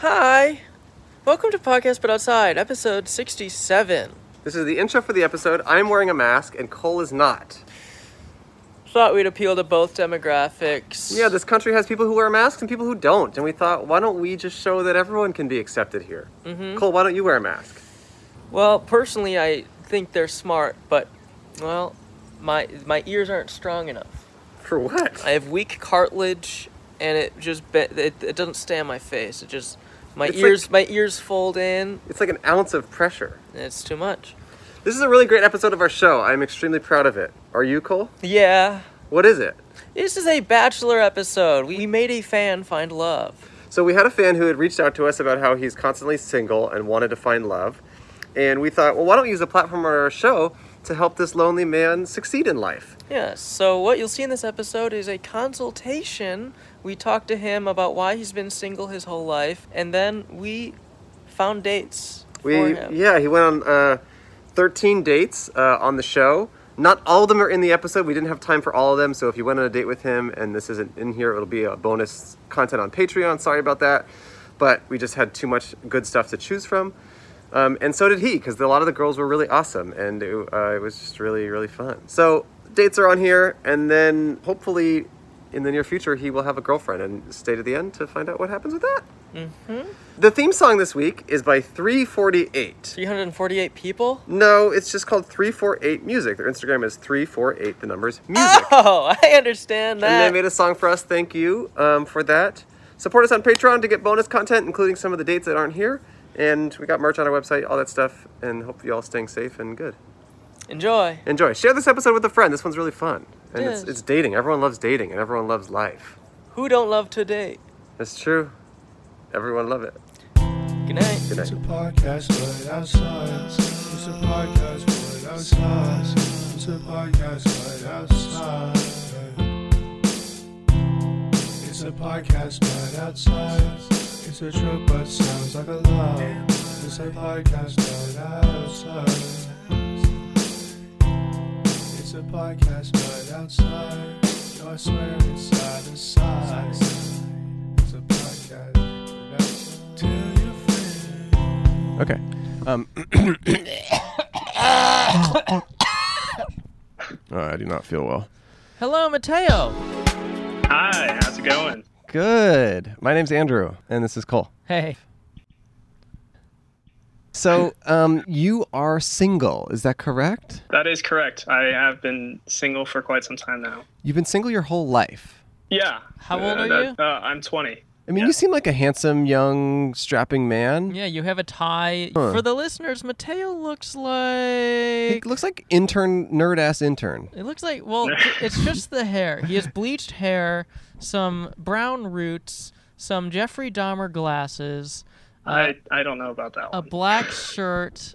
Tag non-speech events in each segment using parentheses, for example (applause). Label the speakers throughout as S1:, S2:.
S1: Hi. Welcome to Podcast But Outside, episode 67.
S2: This is the intro for the episode. I'm wearing a mask and Cole is not.
S1: Thought we'd appeal to both demographics.
S2: Yeah, this country has people who wear masks and people who don't. And we thought, why don't we just show that everyone can be accepted here?
S1: Mm-hmm.
S2: Cole, why don't you wear a mask?
S1: Well, personally, I think they're smart, but, well, my, my ears aren't strong enough.
S2: For what?
S1: I have weak cartilage, and it just be- it, it doesn't stay on my face. It just my
S2: It's like-
S1: ears my ears fold in.
S2: It's like an ounce of pressure.
S1: And it's too much.
S2: This is a really great episode of our show. I'm extremely proud of it. Are you, Cole?
S1: Yeah,
S2: What is it?
S1: this is a bachelor episode. We made a fan find love.
S2: So we had a fan who had reached out to us about how he's constantly single and wanted to find love. And we thought, well, why don't we use the platform of our show to help this lonely man succeed in life?
S1: Yeah, so what you'll see in this episode is a consultation. We talked to him about why he's been single his whole life, and then we found dates
S2: We
S1: for him.
S2: yeah, he went on uh, 13 dates uh, on the show. Not all of them are in the episode. We didn't have time for all of them. So if you went on a date with him and this isn't in here, it'll be a bonus content on Patreon. Sorry about that, but we just had too much good stuff to choose from. Um, and so did he, because a lot of the girls were really awesome, and it, uh, it was just really, really fun. So dates are on here, and then hopefully, in the near future, he will have a girlfriend. And stay to the end to find out what happens with that.
S1: Mm-hmm.
S2: The theme song this week is by 348.
S1: 348 people?
S2: No, it's just called 348 Music. Their Instagram is 348, the numbers, music.
S1: Oh, (laughs) (laughs) I understand
S2: and they
S1: that.
S2: made a song for us. Thank you um, for that. Support us on Patreon to get bonus content, including some of the dates that aren't here. And we got merch on our website, all that stuff. And hope you all staying safe and good.
S1: Enjoy.
S2: Enjoy. Share this episode with a friend. This one's really fun. And
S1: Yes.
S2: it's, it's dating. Everyone loves dating, and everyone loves life.
S1: Who don't love today?
S2: That's true. Everyone love it.
S1: Good night.
S2: Good
S3: It's
S2: night.
S3: a podcast, but outside. It's a podcast, but outside. It's a podcast, but outside. It's a podcast, but outside. It's a trip, but sounds like a lie. It's a podcast, but outside. It's a podcast, but outside. No, I swear it's side to side. It's a podcast, but outside. Tell your friends.
S2: Okay. (coughs) Um, I do not feel well.
S1: Hello, Mateo.
S4: Hi, how's it going?
S2: Good. My name's Andrew, and this is Cole.
S1: Hey.
S2: So, um, you are single, is that correct?
S4: That is correct. I have been single for quite some time now.
S2: You've been single your whole life.
S4: Yeah.
S5: How old are
S4: that- Uh, I'm 20.
S2: I mean,
S4: Yeah.
S2: you seem like a handsome, young, strapping man.
S5: Yeah, you have a tie.
S2: Huh.
S5: For the listeners, Mateo looks
S2: He
S5: like
S2: looks like intern, nerd ass intern.
S5: it looks like
S4: (laughs)
S5: well, it's just the hair. He has bleached hair, some brown roots, some Jeffrey Dahmer glasses,
S4: I, I don't know about that
S5: a
S4: one.
S5: black shirt.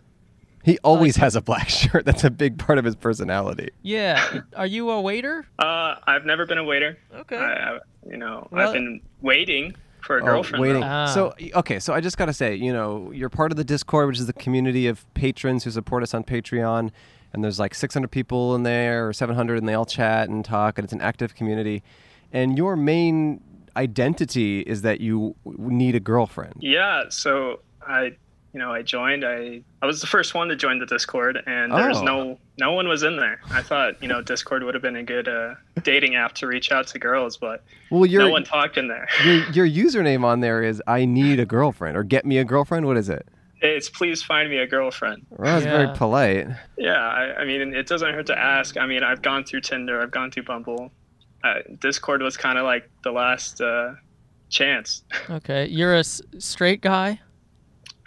S2: He always has a black (laughs) shirt. That's a big part of his personality.
S4: (laughs)
S5: Yeah, are you a waiter?
S4: Uh, I've never been a waiter.
S5: Okay.
S4: I, I, you know,
S5: Well-
S4: I've been waiting for a
S2: Oh,
S4: girlfriend.
S2: waiting.
S4: though.
S5: Ah.
S2: So okay, so I just gotta say, you know, you're part of the Discord, which is the community of patrons who support us on Patreon, and there's like 600 people in there or 700, and they all chat and talk, and it's an active community. And your main identity is that you w- need a girlfriend.
S4: Yeah. So I, you know, I joined. I I was the first one to join the Discord, and there was
S2: Oh.
S4: no no one was in there. I thought you know Discord would have been a good uh, dating app to reach out to girls, but
S2: Well, your
S4: no one talked in there.
S2: your your username on there is I need a girlfriend or get me a girlfriend. What is it?
S4: It's please find me a girlfriend.
S2: Well, that's very
S5: Yeah.
S2: polite.
S4: Yeah, I, I mean, it doesn't hurt to ask. I mean, I've gone through Tinder, I've gone through Bumble. Uh, Discord was kind of like the last uh, chance.
S1: Uh,
S5: Okay, you're a s- straight guy.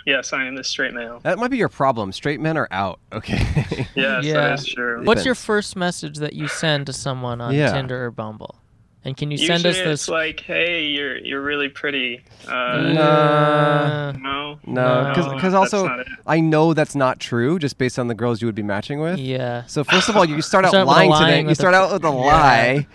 S4: yes, I am the straight male.
S2: That might be your problem. Straight men are out. Okay. (laughs)
S4: Yes,
S5: Yeah.
S4: that is true.
S5: What's your
S2: Depends.
S5: first message that you send to someone on
S2: Yeah.
S5: Tinder or Bumble? And can you
S4: Usually
S5: send us
S4: it's
S5: those?
S4: like, hey, you're you're really pretty. Uh,
S2: No.
S5: Uh,
S4: no,
S2: No,
S4: No,
S2: because
S4: that's
S2: also
S4: not it.
S2: I know that's not true just based on the girls you would be matching with.
S5: yeah.
S2: So first of all, you start out
S5: Start with a
S2: lying to
S5: lying
S2: them. You
S5: with a
S2: start
S5: fr-
S2: out with a lie.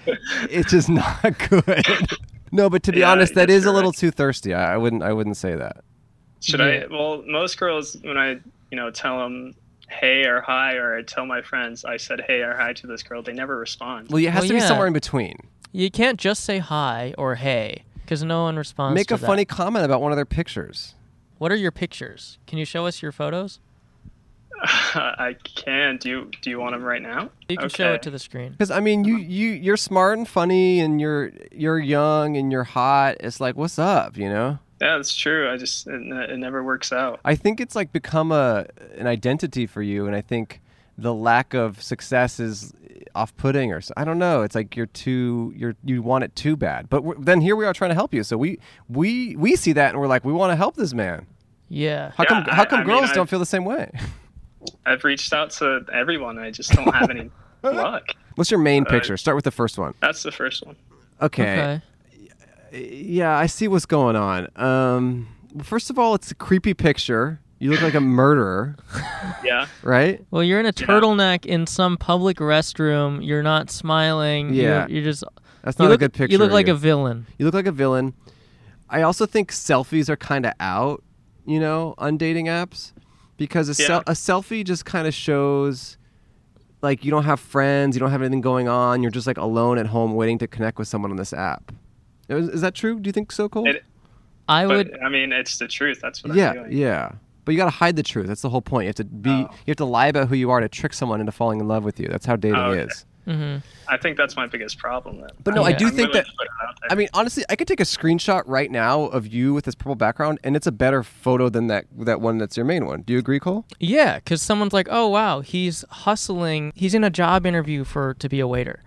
S2: It's just not (laughs) good. No, but to be
S4: Yeah,
S2: honest, that
S4: you're
S2: is a little
S4: correct.
S2: too thirsty. I, I wouldn't. I wouldn't say that.
S4: (laughs) Should
S5: Yeah.
S4: I? Well, most girls, when I you know tell them hey or hi, or I tell my friends I said hey or hi to this girl, they never respond.
S2: Well, it has
S5: Well,
S2: to be
S5: yeah.
S2: somewhere in between.
S5: You can't just say hi or hey.
S1: because no one responds.
S2: Make
S1: to
S2: a
S1: that.
S2: funny comment about one of their pictures.
S1: What are your pictures? Can you show us your photos?
S4: (laughs) I can. Do you do you want them right now?
S1: You can show it to the screen.
S2: Because I mean, you you you're smart and funny, and you're you're young and you're hot. It's like, what's up, you know?
S4: Yeah, that's true. I just it, ne- it never works out.
S2: I think it's like become a an identity for you, and I think the lack of success is off-putting, or so- I don't know. It's like you're too you're you want it too bad. But we're, then here we are trying to help you. So we we we see that, and we're like, we want to help this man.
S1: Yeah.
S2: How
S4: Yeah,
S2: come how
S4: I-
S2: come
S4: I mean,
S2: girls
S4: I-
S2: don't feel the same way? (laughs)
S4: I've reached out to everyone. I just don't have
S2: (laughs)
S4: any luck.
S2: What's your
S4: Uh,
S2: main picture? Start with the first one.
S4: That's the first one.
S2: Okay.
S1: Okay.
S2: Yeah, I see what's going on. Um, first of all, it's a creepy picture. You look like a murderer,
S4: (laughs) Yeah.
S2: right?
S1: Well, you're in a turtleneck in some public restroom. You're not smiling.
S2: Yeah.
S1: Mm-hmm. You're, you're just.
S2: That's
S1: you
S2: not
S1: look,
S2: a good picture.
S1: You look
S2: of
S1: like a villain.
S2: You look like a villain. I also think selfies are kind of out, you know, on dating apps because a, sel-
S4: Yeah.
S2: a selfie just kind of shows like you don't have friends, you don't have anything going on, you're just like alone at home waiting to connect with someone on this app. Is, is that true? Do you think so, Cole?
S4: It-
S1: I
S4: But
S1: would.
S4: I mean, it's the truth. That's what
S2: yeah,
S4: I'm doing.
S2: yeah. But you got to hide the truth. That's the whole point. You have to be
S4: Oh.
S2: you have to lie about who you are to trick someone into falling in love with you. That's how dating
S4: Oh, okay.
S2: is.
S1: hmm
S4: I think that's my biggest problem. Then.
S2: But no, I
S1: Yeah.
S2: do
S4: I'm
S2: think
S4: willing
S2: that
S4: to put it out there.
S2: I mean, honestly, I could take a screenshot right now of you with this purple background, and it's a better photo than that that one that's your main one. Do you agree, Cole?
S1: Yeah, because someone's like, "Oh wow, he's hustling. He's in a job interview for to be a waiter."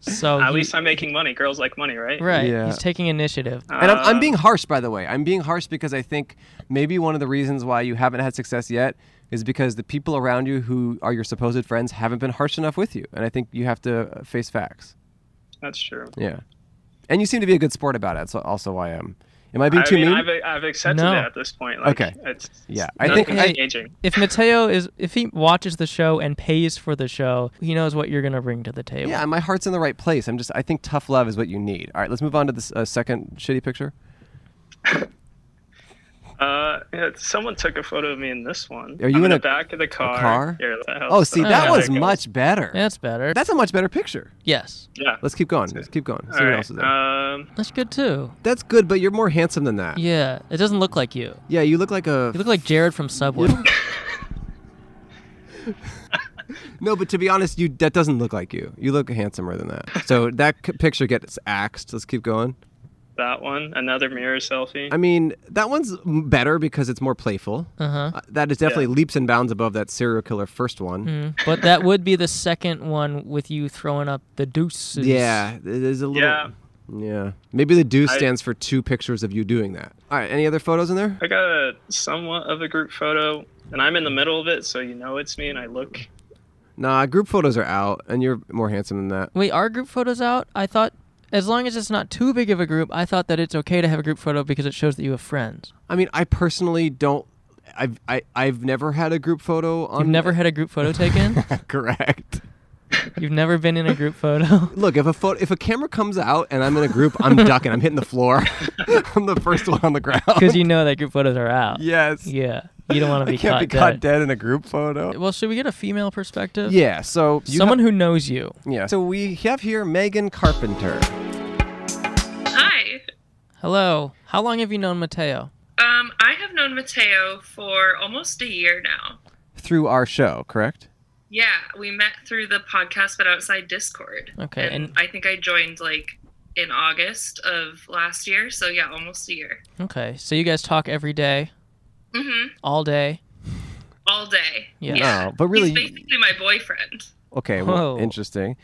S1: so
S4: at
S1: he-
S4: least I'm making money. Girls like money, right?
S1: right,
S2: Yeah.
S1: he's taking initiative.
S2: and I'm, I'm
S4: Uh,
S2: being harsh, by the way. I'm being harsh because I think maybe one of the reasons why you haven't had success yet is because the people around you who are your supposed friends haven't been harsh enough with you, and I think you have to uh, face facts.
S4: That's true.
S2: Yeah, and you seem to be a good sport about it. So also why I'm. Am I being
S4: I
S2: too
S4: mean,
S2: mean?
S4: I've, I've accepted
S1: No.
S4: it at this point. Like,
S2: Okay.
S4: It's,
S2: Yeah, I
S4: I
S2: think-
S4: think
S1: I-
S4: changing.
S1: If Mateo is, if he watches the show and pays for the show, he knows what you're gonna bring to the table.
S2: Yeah, my heart's in the right place. I'm just. I think tough love is what you need. All right, let's move on to this uh, second shitty picture.
S4: Uh, yeah, someone took a photo of me in this one.
S2: Are you
S4: I'm
S2: in
S4: the
S2: a-
S4: back of the car?
S2: car?
S4: Here, that-
S2: Oh, see, that
S1: Yeah,
S2: one's
S4: there it goes.
S2: much better.
S1: that's better.
S2: That's a much better picture.
S1: yes,
S4: Yeah.
S2: Let's keep going. Let's keep going. See
S4: All
S2: what
S4: right,
S2: else is there.
S4: Um,
S1: that's good too.
S2: That's good, but you're more handsome than that.
S1: Yeah, it doesn't look like you.
S2: Yeah, you look like a.
S1: You look like Jared from Subway.
S2: (laughs) no, but to be honest, you that doesn't look like you. You look handsomer than that. So that c- picture gets axed. Let's keep going.
S4: that one, another mirror selfie.
S2: I mean, that one's m- better because it's more playful.
S1: Uh-huh.
S2: Uh, that is definitely leaps and bounds above that serial killer first one.
S1: Mm, but that would be the second one with you throwing up the deuces.
S2: Yeah, there's a little.
S4: Yeah.
S2: Yeah. Maybe the do
S4: I-
S2: stands for two pictures of you doing that. All right. Any other photos in there?
S4: I got a somewhat of a group photo, and I'm in the middle of it, so you know it's me, and I look.
S2: Nah, group photos are out, and you're more handsome than that.
S1: Wait, are group photos out? I thought, as long as it's not too big of a group, I thought that it's okay to have a group photo because it shows that you have friends.
S2: I mean, I personally don't. I've I, I've never had a group photo on.
S1: You've never had a group photo taken?
S2: (laughs) correct.
S1: You've never been in a
S2: (laughs)
S1: group photo?
S2: Look, if a photo, if a camera comes out and I'm in a group, I'm ducking. I'm hitting the floor. (laughs) I'm the first one on the ground.
S1: Because you know that group photos are out.
S2: yes,
S1: Yeah. You don't want to
S2: I
S1: be
S2: can't
S1: caught,
S2: be caught dead in a group photo.
S1: Well, should we get a female perspective?
S2: Yeah. So you
S1: Someone who knows you.
S2: ha- yeah. So we have here Megan Carpenter.
S6: Hi.
S1: Hello. How long have you known Mateo?
S6: Um, I have known Mateo for almost a year now.
S2: Through our show, correct?
S6: Yeah, we met through the podcast but outside Discord.
S1: Okay,
S6: And,
S1: and-
S6: I think I joined like in August of last year, so yeah, almost a year.
S1: Okay. So you guys talk every day,
S6: hmm
S1: all day.
S6: All day.
S1: Yeah.
S2: Oh, but really,
S6: He's basically my boyfriend.
S2: okay. Well,
S1: Whoa.
S2: interesting.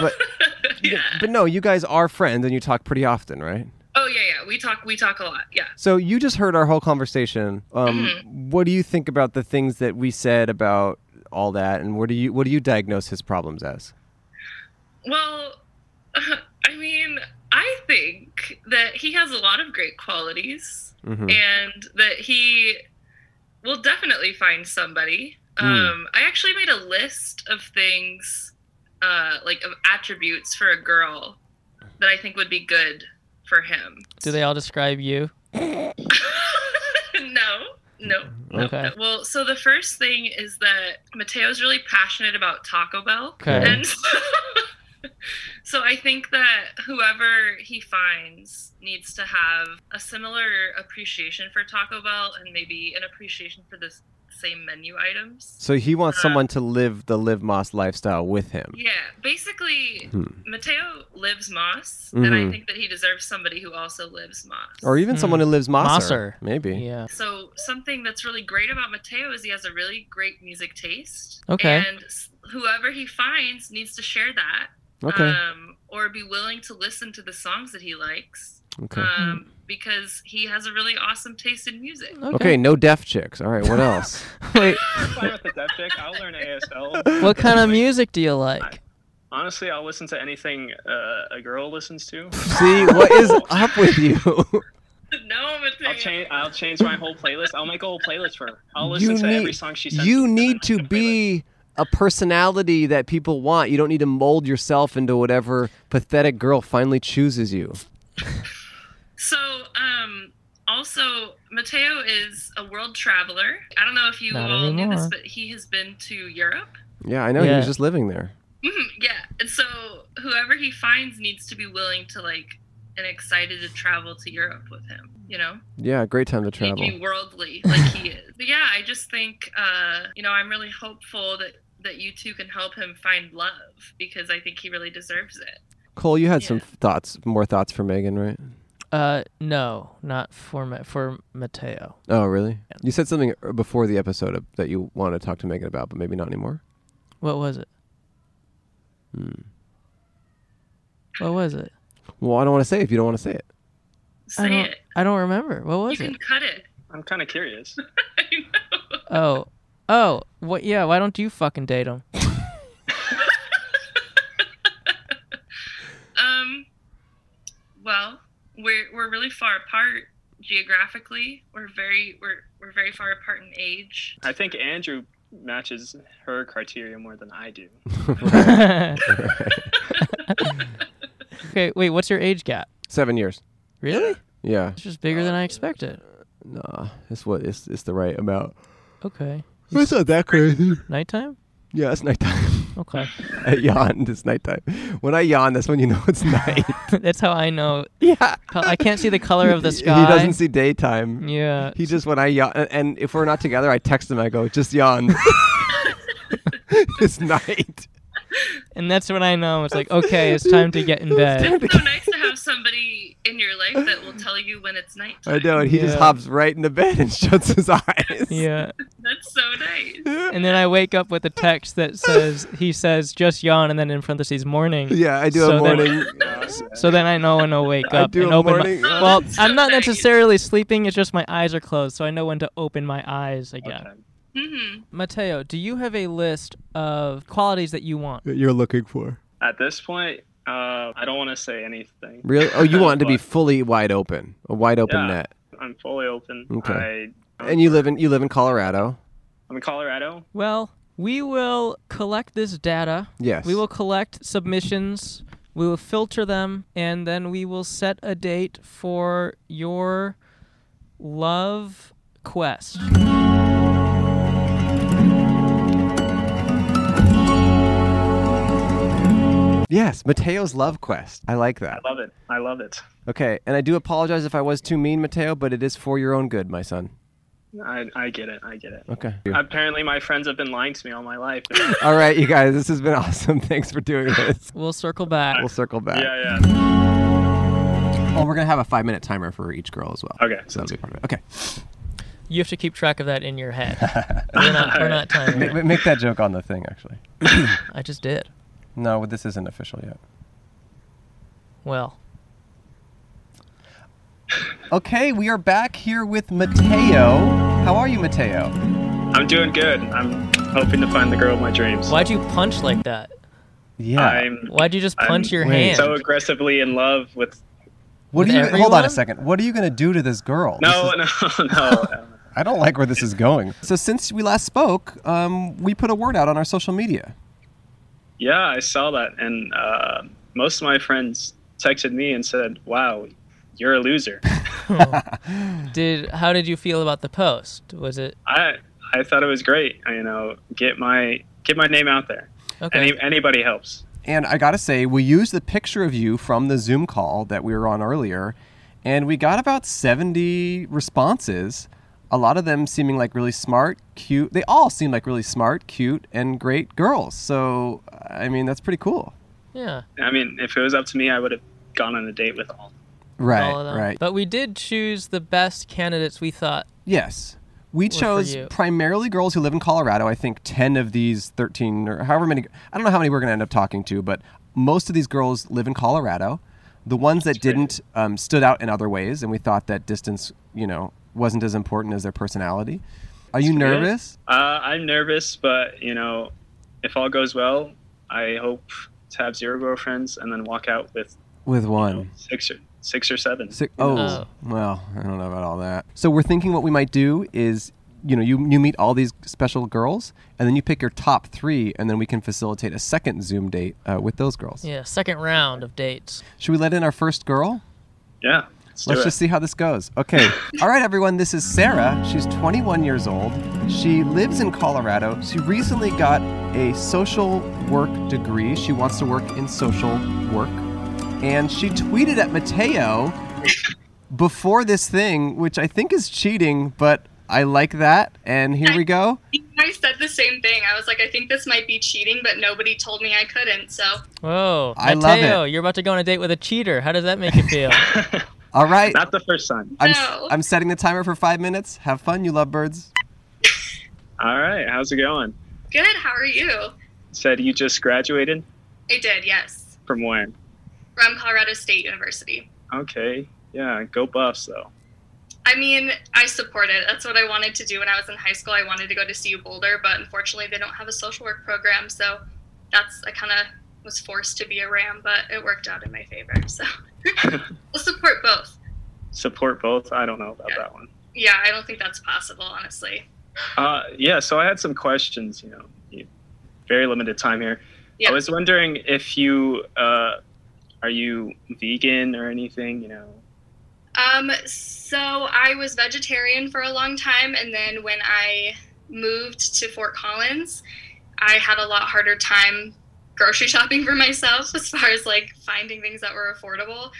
S2: But (laughs)
S6: yeah.
S2: but no, you guys are friends and you talk pretty often, right?
S6: Oh yeah, yeah. We talk we talk a lot. Yeah.
S2: So you just heard our whole conversation. Um,
S4: Mm-hmm.
S2: What do you think about the things that we said about all that, and what do you what do you diagnose his problems as?
S6: Well, (laughs) I mean, I think that he has a lot of great qualities.
S2: hmm
S6: and that he will definitely find somebody. Um, I actually made a list of things, uh, like of attributes for a girl that I think would be good for him.
S1: Do they all describe you?
S7: (laughs)
S6: no, no. no,
S1: Okay.
S6: no. Well, so the first thing is that Mateo's really passionate about Taco Bell.
S1: Okay.
S6: And so,
S7: (laughs) So I think that whoever he finds needs to have a similar appreciation for Taco Bell and maybe an appreciation for the s- same menu items.
S2: So he wants
S7: Uh,
S2: someone to live the live Moss lifestyle with him.
S7: Yeah, basically,
S2: Hmm.
S7: Mateo lives Moss, and I
S2: Mhm.
S7: think that he deserves somebody who also lives Moss.
S2: Or even
S1: Hmm.
S2: someone who lives Mosser.
S1: Mosser.
S2: Maybe.
S1: Yeah.
S7: So something that's really great about Mateo is he has a really great music taste.
S1: Okay.
S7: And s- whoever he finds needs to share that.
S2: Okay.
S7: Um, or be willing to listen to the songs that he likes.
S2: okay.
S7: Um, because he has a really awesome taste in music.
S1: Okay.
S2: Okay, no deaf chicks. All right,
S1: (laughs)
S2: what else?
S1: Wait,
S4: I'm fine with the deaf chick. I'll learn ASL.
S1: (laughs) what kind of music do you like?
S4: Honestly, I'll listen to anything uh, a girl listens to.
S2: See,
S4: (laughs)
S2: what is up with you?
S7: no, Mateo.
S4: I'll change. I'll change my whole playlist. I'll make a whole playlist for her. I'll listen
S2: You
S4: to every
S2: need-
S4: song she sends.
S2: you
S4: me, and then
S2: need
S4: make
S2: to
S4: a playlist.
S2: be a personality that people want. You don't need to mold yourself into whatever pathetic girl finally chooses you.
S7: So, um, also, Mateo is a world traveler. I don't know if you
S1: Not
S7: all knew
S1: anymore.
S7: this, but he has been to Europe.
S2: Yeah, I know. He
S1: Yeah.
S2: was just living there.
S7: Mhm, yeah. And so, whoever he finds needs to be willing to, like, and excited to travel to Europe with him, you know?
S2: Yeah, great time to
S7: He'd
S2: travel.
S7: be worldly like he is. But yeah, I just think uh, you know, I'm really hopeful that that you two can help him find love because I think he really deserves it.
S2: Cole, you had some
S7: Yeah.
S2: thoughts, more thoughts for Megan, right?
S1: Uh, no, not for Ma- for Mateo.
S2: Oh, really? You said something er- before the episode of- that you wanted to talk to Megan about, but maybe not anymore.
S1: What was it?
S2: Hmm.
S1: What was it?
S2: Well, I don't want to say it if you don't want to say it.
S1: I
S7: Say
S1: don't.
S7: it.
S1: I don't remember. What
S7: You
S1: was
S7: can
S1: it?
S7: cut it.
S4: I'm kind of
S7: (laughs)
S4: curious.
S7: I know.
S1: Oh, oh. What? Yeah. Why don't you fucking date
S7: (laughs)
S1: him?
S7: Um well, we're we're really far apart geographically. We're very we're we're very far apart in age.
S4: I think Andrew matches her criteria more than I
S2: (laughs)
S1: (laughs)
S4: do.
S1: okay. Wait. What's your age gap?
S2: Seven years.
S1: Really?
S2: Yeah.
S1: It's just bigger than I expected.
S2: Nah, it's what it's, it's the right amount.
S1: Okay.
S2: It's not that crazy.
S1: Nighttime.
S2: Yeah, it's nighttime. (laughs)
S1: Okay.
S2: I yawned. It's nighttime. When I yawn, that's when you know it's (laughs) night.
S1: (laughs) That's how I know.
S2: yeah.
S1: co- I can't see the color of
S2: (laughs)
S1: the
S2: He
S1: sky.
S2: doesn't see daytime.
S1: Yeah.
S2: He just when I yawn, and- and if we're not together, I text him. I go, just
S1: (laughs)
S2: yawn. (laughs) it's night.
S1: And that's when I know it's like,
S2: (laughs)
S1: okay, it's time to get in bed.
S7: It's so nice to have somebody in your life that will tell you when it's night.
S2: I know, and he just
S1: Yeah.
S2: hops right into bed and (laughs) shuts his eyes.
S1: Yeah.
S7: That's so nice.
S1: And then I wake up with a text that says he says just yawn and then in parentheses morning.
S2: Yeah, I do a
S1: So then-
S4: (laughs)
S2: morning.
S1: So then I know when to wake
S2: (laughs) I
S1: up
S2: do
S1: and
S2: a
S1: open
S2: morning-
S1: my
S2: Oh, (laughs)
S1: (laughs) Well,
S7: that's so
S1: I'm not
S7: nice.
S1: necessarily sleeping, it's just my eyes are closed, so I know when to open my eyes again.
S4: Okay.
S7: hmm
S1: Mateo, do you have a list of qualities that you want?
S2: that you're looking for.
S4: At this point, uh, I don't want to say anything.
S2: Really? Oh, you want it
S4: (laughs)
S2: to be
S4: But
S2: fully wide open, a wide open
S4: Yeah.
S2: net.
S4: I'm fully open.
S2: Okay.
S4: I,
S2: And you live in you live in Colorado.
S4: I'm in Colorado.
S1: Well, we will collect this data.
S2: Yes.
S1: We will collect submissions. We will filter them, and then we will set a date for your love quest.
S2: Yes, Mateo's love quest. I like that.
S4: I love it. I love it.
S2: Okay, and I do apologize if I was too mean, Mateo, but it is for your own good, my son.
S4: I, I get it. I get it.
S2: Okay.
S4: Apparently, my friends have been lying to me all my life.
S2: (laughs) All right, you guys, this has been (laughs) awesome. Thanks for doing this.
S1: We'll circle back.
S2: We'll circle back.
S4: yeah, yeah.
S2: Oh, we're gonna have a five minute timer for each girl as well.
S4: Okay.
S2: So that'll be part of it. Okay.
S1: You have to keep track of that in your
S2: (laughs)
S1: head. we're not, we're not timing. it.
S2: Make, make that joke on the thing, actually. (coughs)
S1: I just did.
S2: No, this isn't official yet.
S1: Well,
S2: Okay, we are back here with Mateo. How are you, Mateo?
S4: I'm doing good. I'm hoping to find the girl of my dreams.
S1: why'd you punch like that?
S2: Yeah.
S4: I'm
S1: Why'd you just punch
S4: I'm-
S1: your
S2: Wait.
S1: hand?
S4: so aggressively in love with.
S2: What
S1: With
S2: are you? Hold on a
S1: everyone?
S2: second. What are you gonna do to this girl?
S4: No, (laughs)
S2: This is-
S4: no, no.
S2: I don't like where this is going. So since we last spoke, um, we put a word out on our social media.
S4: yeah, I saw that, and uh, most of my friends texted me and said, "Wow, you're a loser."
S1: did how did you feel about the post? Was it
S4: I I thought it was great. You know, get my get my name out there.
S1: okay?
S4: Any, anybody helps.
S2: And I gotta say, we used the picture of you from the Zoom call that we were on earlier, and we got about 70 responses. A lot of them seeming like really smart, cute. They all seem like really smart, cute, and great girls. So, I mean, that's pretty cool.
S1: Yeah.
S4: I mean, if it was up to me, I would have gone on a date with all.
S2: Right,
S1: all of them.
S2: right.
S1: But we did choose the best candidates we thought.
S2: Yes. We
S1: for
S2: chose
S1: you.
S2: primarily girls who live in Colorado. I think 10 of these 13 or however many I don't know how many we're going to end up talking to, but most of these girls live in Colorado. The ones that didn't um, stood out in other ways and we thought that distance, you know, wasn't as important as their personality. Are you
S4: great.
S2: nervous?
S4: Uh, I'm nervous, but you know, if all goes well, I hope to have zero girlfriends and then walk out with
S2: With
S4: you know,
S2: one.
S4: six or six or seven.
S2: Six, oh,
S1: Oh.
S2: well, I don't know about all that. So we're thinking what we might do is, you know, you you meet all these special girls, and then you pick your top three, and then we can facilitate a second Zoom date uh, with those girls.
S1: Yeah, second round of dates.
S2: Should we let in our first girl?
S4: Yeah, let's, do
S2: Let's
S4: it.
S2: just see how this goes. Okay.
S4: (laughs)
S2: All right, everyone. This is Sarah. She's 21 years old. She lives in Colorado. She recently got a social work degree. She wants to work in social work. And she tweeted at Mateo before this thing, which I think is cheating, but I like that. And here we go.
S6: I said the same thing. I was like, I think this might be cheating, but nobody told me I couldn't. So
S1: Whoa.
S2: I love
S1: Mateo,
S2: it.
S1: you're about to go on a date with a cheater. How does that make you feel?
S2: All right.
S4: Not the first time.
S2: I'm,
S6: No.
S2: I'm setting the timer for five minutes. Have fun, you lovebirds.
S4: All right, how's it going?
S6: good. How are you?
S4: Said you just graduated
S6: I did. Yes,
S4: from where?
S6: from Colorado State University.
S4: Okay, yeah, go Buffs though.
S6: I mean, I support it. That's what I wanted to do when I was in high school. I wanted to go to CU Boulder, but unfortunately, they don't have a social work program. So that's, I kind of was forced to be a Ram, but it worked out in my favor. So we'll support both.
S4: Support both. I don't know about that one.
S6: Yeah, I don't think that's possible, honestly.
S4: Uh, yeah, so I had some questions. You know, you- very limited time here.
S6: Yeah.
S4: I was wondering if you uh, are you vegan or anything? You know.
S6: Um, so I was vegetarian for a long time, and then when I moved to Fort Collins, I had a lot harder time grocery (laughs) shopping for myself as far as like finding things that were affordable.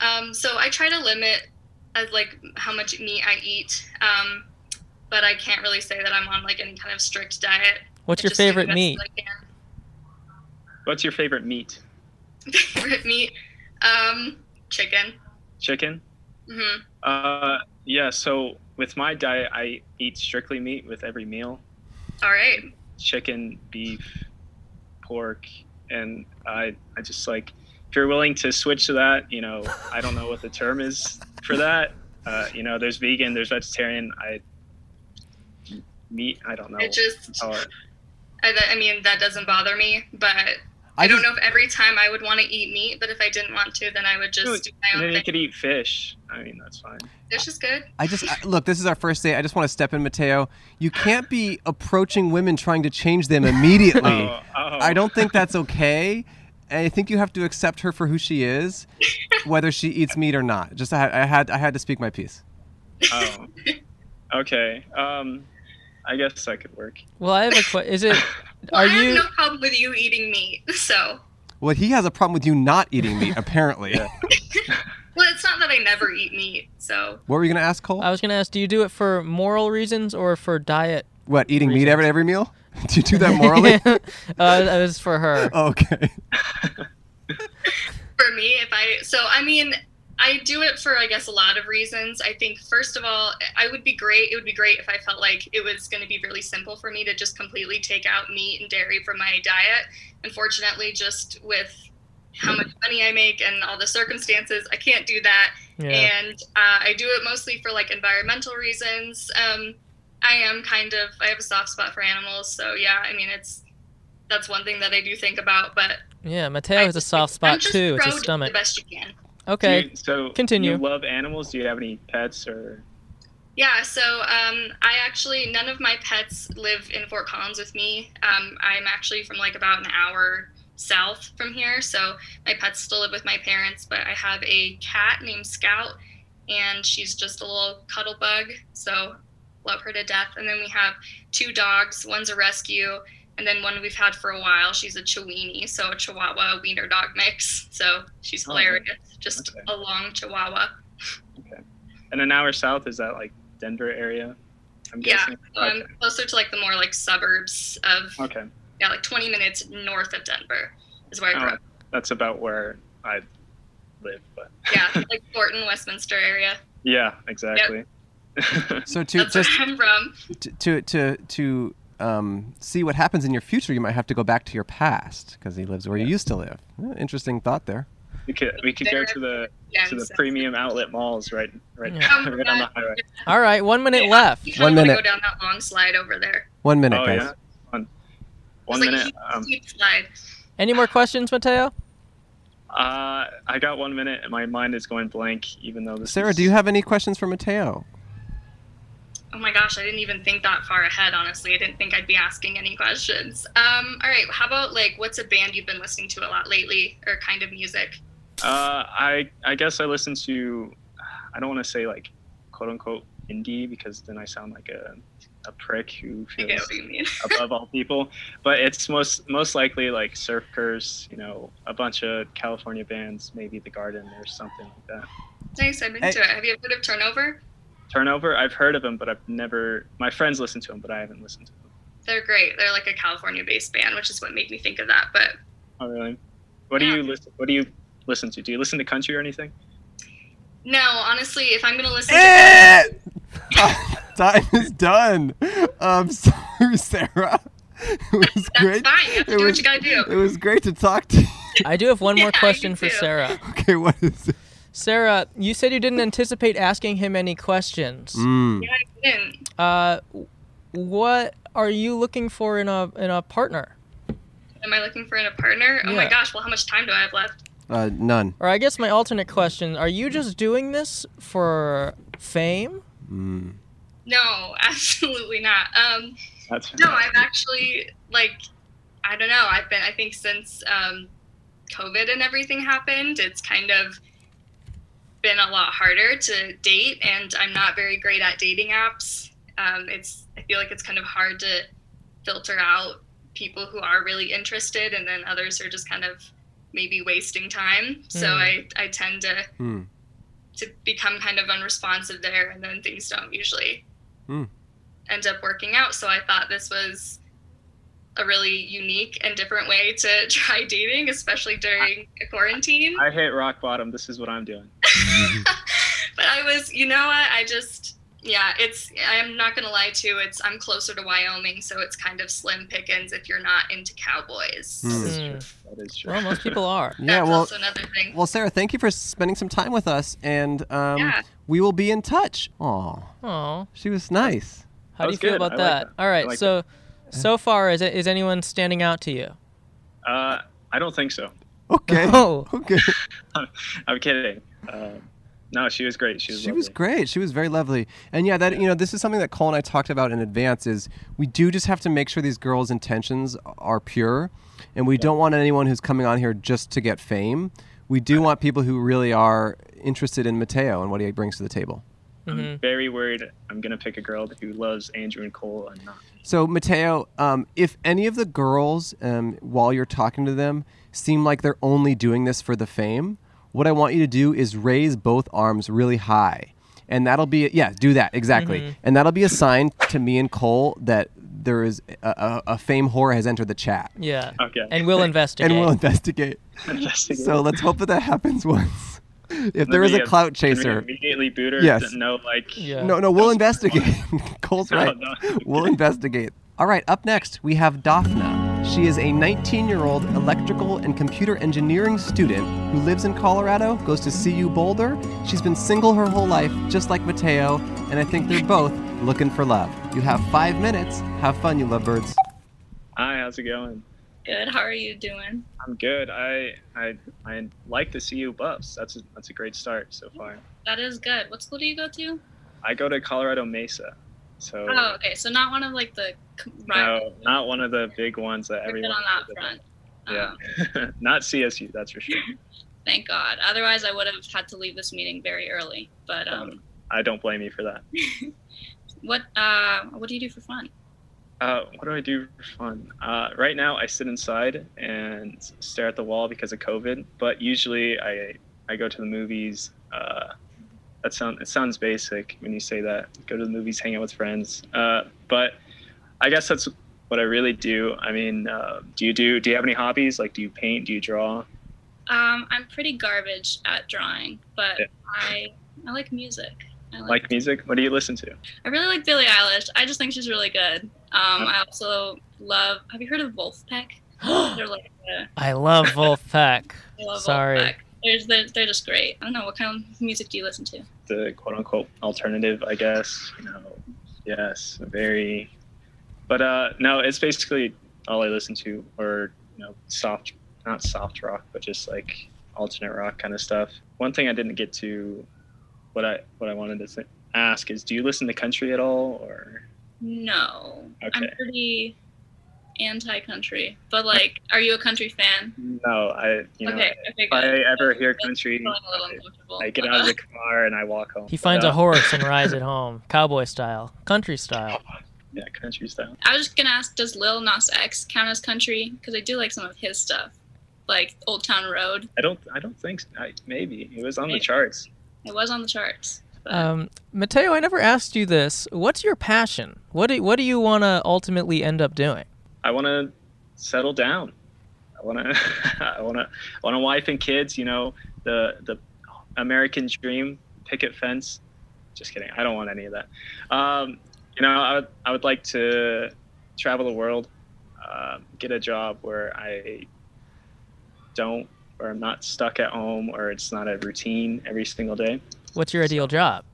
S6: Um, so I try to limit as like how much meat I eat, um, but I can't really say that I'm on like any kind of strict diet.
S1: What's
S6: I
S1: your
S6: just do the
S1: favorite
S6: best
S1: meat?
S6: that I can.
S4: What's your favorite meat?
S6: (laughs) favorite meat, um, chicken.
S4: Chicken?
S6: hmm
S4: Uh, yeah, so with my diet, I eat strictly meat with every meal
S6: All right.
S4: chicken, beef, pork. And I, I just like, if you're willing to switch to that, you know, I don't know what the term is for that. Uh, you know, there's vegan, there's vegetarian. I, meat, I don't know.
S6: It just
S4: how it-
S6: I, I mean, that doesn't bother me, but I, don't know if every time I would want to eat meat, but if I didn't want to, then I would just do my
S4: and
S6: own
S4: then you
S6: thing.
S4: could eat fish. I mean, that's
S6: (laughs)
S4: fine.
S6: This is good.
S2: I just I, look. This is our first day. I just want to step in, Mateo. You can't be approaching women trying to change them immediately.
S4: (laughs) Oh, oh.
S2: I don't think that's okay. And I think you have to accept her for who she is, whether she eats meat or not. Just I, I had I had to speak my piece.
S4: Oh. Okay. Um, I guess that could work.
S1: Well, I have a question. Is it.
S6: (laughs) Well,
S1: Are
S6: I have
S1: you.
S6: no problem with you eating meat, (laughs) so.
S2: Well, he has a problem with you not eating
S1: (laughs)
S2: meat, apparently.
S6: Well, it's not that I never eat meat, so.
S2: (laughs) What were you gonna ask Cole?
S1: I was going to ask do you do it for moral reasons or for diet?
S2: what eating meat every every meal? Do you do that
S1: (laughs)
S2: morally?
S1: uh, that was for her.
S2: (laughs) okay.
S6: For me, if I. So, I mean, I do it for, I guess, a lot of reasons. I think, first of all, I would be great. It would be great if I felt like it was going to be really simple for me to just completely take out meat and dairy from my diet. Unfortunately, just with how much money I make and all the circumstances, I can't do that.
S1: Yeah.
S6: and uh, I do it mostly for like environmental reasons. Um, I am kind of I have a soft spot for animals, so yeah, I mean it's that's one thing that I do think about. But
S1: Yeah, Mateo
S6: I
S1: has a
S6: just-
S1: soft
S6: I'm
S1: spot
S6: just
S1: too. It's
S6: pro
S1: his
S6: doing
S1: stomach.
S6: The best you can.
S4: Do
S1: Okay.
S4: you- so
S1: continue.
S4: You love animals? Do you have any pets or?
S6: Yeah, so um, I actually none of my pets live in Fort Collins with me. Um, I'm actually from like about an hour south from here, so my pets still live with my parents. But I have a cat named Scout, and she's just a little cuddle bug, so love her to death. And then we have two dogs. One's a rescue, And then one we've had for a while, she's a Chiweenie, so a Chihuahua wiener dog mix. So she's
S4: Oh, yeah.
S6: hilarious. Just
S4: Okay.
S6: a long Chihuahua.
S4: And an hour south is that like Denver area? I'm
S6: Yeah,
S4: guessing.
S6: So I'm closer to like the more like suburbs of
S4: Okay.
S6: yeah, like 20 minutes north of Denver is where I grew
S4: Oh,
S6: up.
S4: that's about where I live, but
S6: Yeah, like Thornton, Westminster area. (laughs)
S4: yeah, exactly.
S2: So to
S6: That's
S2: just
S6: where I'm from.
S2: to to to, to um, see what happens in your future, you might have to go back to your past because he lives where you used to live. Yeah, interesting thought there.
S4: we could we could go to the
S6: Yeah, Um, uh,
S4: to the
S6: so-
S4: premium outlet malls right right,
S1: Yeah.
S4: right on the highway.
S1: All right, one minute
S6: Yeah.
S1: left.
S6: You kind
S2: One
S6: of want to
S2: minute.
S6: go down that long um, slide over there.
S2: One minute,
S4: oh
S2: guys.
S4: yeah. Fun. One
S6: it's like
S4: minute.
S6: a huge,
S4: um,
S6: huge slide.
S1: Any more questions, Mateo?
S4: uh, I got one minute, and my mind is going blank, even though this.
S2: Sarah,
S4: is-
S2: do you have any questions for Mateo?
S6: Oh my gosh, I didn't even think that far ahead, honestly. I didn't think I'd be asking any questions. Um, all right, how about like what's a band you've been listening to a lot lately or kind of music?
S4: Uh, I I guess I listen to. I don't want to say like quote unquote indie because then I sound like a a prick who
S6: I
S4: feels
S6: get what you mean. (laughs)
S4: above all people. But it's most most likely like Circus, you know, a bunch of California bands, maybe The Garden or something like that.
S6: Nice, I'm into it. Have you ever heard of Turnover?
S4: Turnover, I've heard of them, but I've never. My friends listen to them, but I haven't listened to them.
S6: They're great. They're like a California based band, which is what made me think of that. But
S4: Oh really? What
S6: Yeah. Mm-hmm.
S4: do you listen? What do you listen to? Do you listen to country or anything?
S6: no, honestly, if I'm gonna listen to
S2: Eh! (laughs) Time is done. Um, (laughs) sorry, Sarah. It was
S6: that's
S2: great.
S6: fine. You have to
S2: it
S6: do
S2: was-
S6: what you gotta do.
S2: It was great to talk to you.
S1: I do have one
S4: (laughs)
S6: Yeah,
S1: more
S6: you
S1: question for
S6: do.
S1: Sarah.
S2: (laughs) Okay, what is it?
S1: Sarah, you said you didn't anticipate asking him any questions.
S2: Mm.
S6: Yeah, I didn't.
S1: Uh, what are you looking for in a in a partner?
S6: Am I looking for in a partner? Oh
S1: Yeah.
S6: my gosh, well how much time do I have left?
S2: Uh, none.
S1: Or I guess my alternate question: Are you just doing this for fame?
S2: Mm.
S6: No, (laughs) absolutely not. Um
S4: That's
S6: No, I've actually like I don't know. I've been I think since um, COVID and everything happened, it's kind of been a lot harder to date, and I'm not very great at dating apps. Um, it's I feel like it's kind of hard to filter out people who are really interested, and then others are just kind of maybe wasting time. So
S1: Hmm.
S6: I I tend to
S2: Hmm.
S6: to become kind of unresponsive there, and then things don't usually
S2: Hmm.
S6: end up working out. So I thought this was a really unique and different way to (laughs) try dating, especially during a quarantine.
S4: I hit rock bottom. This is what I'm doing.
S6: but I was, you know what? I just, yeah, it's, I'm not going to lie to you. It's, I'm closer to Wyoming, so it's kind of slim pickings if you're not into cowboys.
S2: Hmm.
S4: That is
S1: Hmm.
S4: true. That is true.
S1: Well, most people are.
S2: Yeah,
S6: That's
S2: well,
S6: also another thing.
S2: well, Sarah, thank you for spending some time with us, and um,
S6: Yeah.
S2: we will be in touch. Aw,
S1: Oh,
S2: she was nice.
S1: how do you
S4: was
S1: feel
S4: good.
S1: about
S4: I like
S1: that?
S4: that.
S1: All right,
S4: I like
S1: so so far is is anyone standing out to you?
S4: uh, I don't think so.
S2: Okay.
S1: (laughs) Oh.
S2: Okay.
S4: (laughs) I'm kidding. Uh, no, she was great. She was.
S2: she was
S4: lovely.
S2: great she was very lovely and yeah that you know this is something that cole and i talked about in advance is we do just have to make sure these girls intentions are pure and we don't want anyone who's coming on here just to get fame we do want people who really are interested in mateo and what he brings to the table
S1: hmm
S4: Very worried. I'm gonna pick a girl who loves Andrew and Cole and not.
S2: so mateo um, if any of the girls um, while you're talking to them seem like they're only doing this for the fame what i want you to do is raise both arms really high and that'll be yeah do that exactly
S1: Mm-hmm.
S2: and that'll be a sign to me and cole that there is a, a, a fame whore has entered the chat
S1: Yeah.
S4: Okay.
S1: And we'll investigate.
S2: and we'll investigate
S4: Investigate.
S2: so let's hope that that happens (laughs) once if
S4: Let
S2: there is
S4: me,
S2: a
S4: uh,
S2: clout
S4: can we
S2: chaser
S4: Immediately boot her.
S2: Yes.
S4: No, like.
S1: Yeah.
S2: no no we'll investigate (laughs) cole's
S4: No,
S2: right
S4: no.
S2: we'll investigate all right up next we have daphna she is a 19 year old electrical and computer engineering student who lives in colorado goes to cu boulder she's been single her whole life just like mateo and i think they're both looking for love you have five minutes have fun you lovebirds
S4: Hi, how's it going?
S6: Good. How are you doing?
S4: I'm good. I I I like the CU Buffs. That's a, that's a great start so far.
S6: That is good. What school do you go to?
S4: I go to Colorado Mesa, so
S6: Oh, okay. So not one of like the c-
S4: no,
S6: rival.
S4: not one of the big ones that
S6: You're good
S4: everyone.
S6: on that front.
S4: Yeah,
S6: Um,
S4: (laughs) not CSU. That's for sure.
S6: thank God. Otherwise, I would have had to leave this meeting very early. But
S4: Oh.
S6: um,
S4: I don't blame you for that.
S6: what uh, what do you do for fun?
S4: Uh, what do I do for fun? Uh, right now, I sit inside and stare at the wall because of COVID. But usually, I I go to the movies. Uh, that sound it sounds basic when you say that. Go to the movies, hang out with friends. Uh, but I guess that's what I really do. I mean, uh, do you do do you have any hobbies? Like, do you paint? Do you draw?
S8: Um, I'm pretty garbage at drawing, but
S4: Yeah.
S8: I I like music. I like,
S4: Like music? What do you listen to?
S8: I really like Billie Eilish. I just think she's really good. Um, I also love. Have you heard of
S4: (gasps)
S8: Wolfpack? They're like uh,
S1: I
S4: (laughs)
S1: love Wolfpack.
S8: I love
S1: Sorry.
S8: Wolfpack. They're, they're, they're just great. I don't know what kind of music do you listen to?
S4: the quote unquote alternative, I guess. You know, yes, very. But uh, no, it's basically all I listen to, or you know, soft, not soft rock, but just like alternate rock kind of stuff. One thing I didn't get to, what I what I wanted to say, ask is, do you listen to country at all, or
S8: No, I'm
S4: Okay.
S8: pretty anti-country. But like, are you a country fan?
S4: no? I you know,
S8: okay, okay,
S4: if I
S8: good.
S4: ever hear
S8: That's
S4: country,
S8: feeling a little uncomfortable.
S4: I get out of the car and I walk home.
S1: He finds
S4: But,
S1: a
S4: uh,
S1: horse and rides it home, cowboy style, country style.
S4: Yeah, country style.
S8: I was just gonna ask, does Lil Nas X count as country? Because I do like some of his stuff, like Old Town Road.
S4: I don't. I don't think. I, maybe it was on the
S8: Maybe.
S4: charts.
S8: It was on the charts. But
S1: Um, Mateo, I never asked you this. What's your passion? What do What do you want to ultimately end up doing?
S4: I want to settle down. I want to, (laughs) I want to, I want a wife and kids. You know, the the American dream, picket fence. Just kidding. I don't want any of that. Um, you know, I would, I would like to travel the world, um, get a job where I don't, or I'm not stuck at home, or it's not a routine every single day.
S1: What's your ideal job?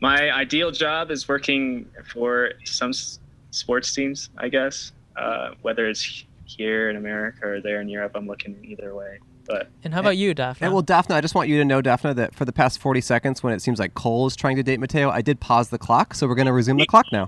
S4: My ideal job is working for some s- sports teams, I guess. Uh, whether it's here in America or there in Europe, I'm looking either way. But
S1: And how about you, Daphne?
S2: And well, Daphne, I just want you to know, Daphne, that for the past 40 seconds, when it seems like Cole is trying to date Mateo, I did pause the clock, so we're going to resume the clock now.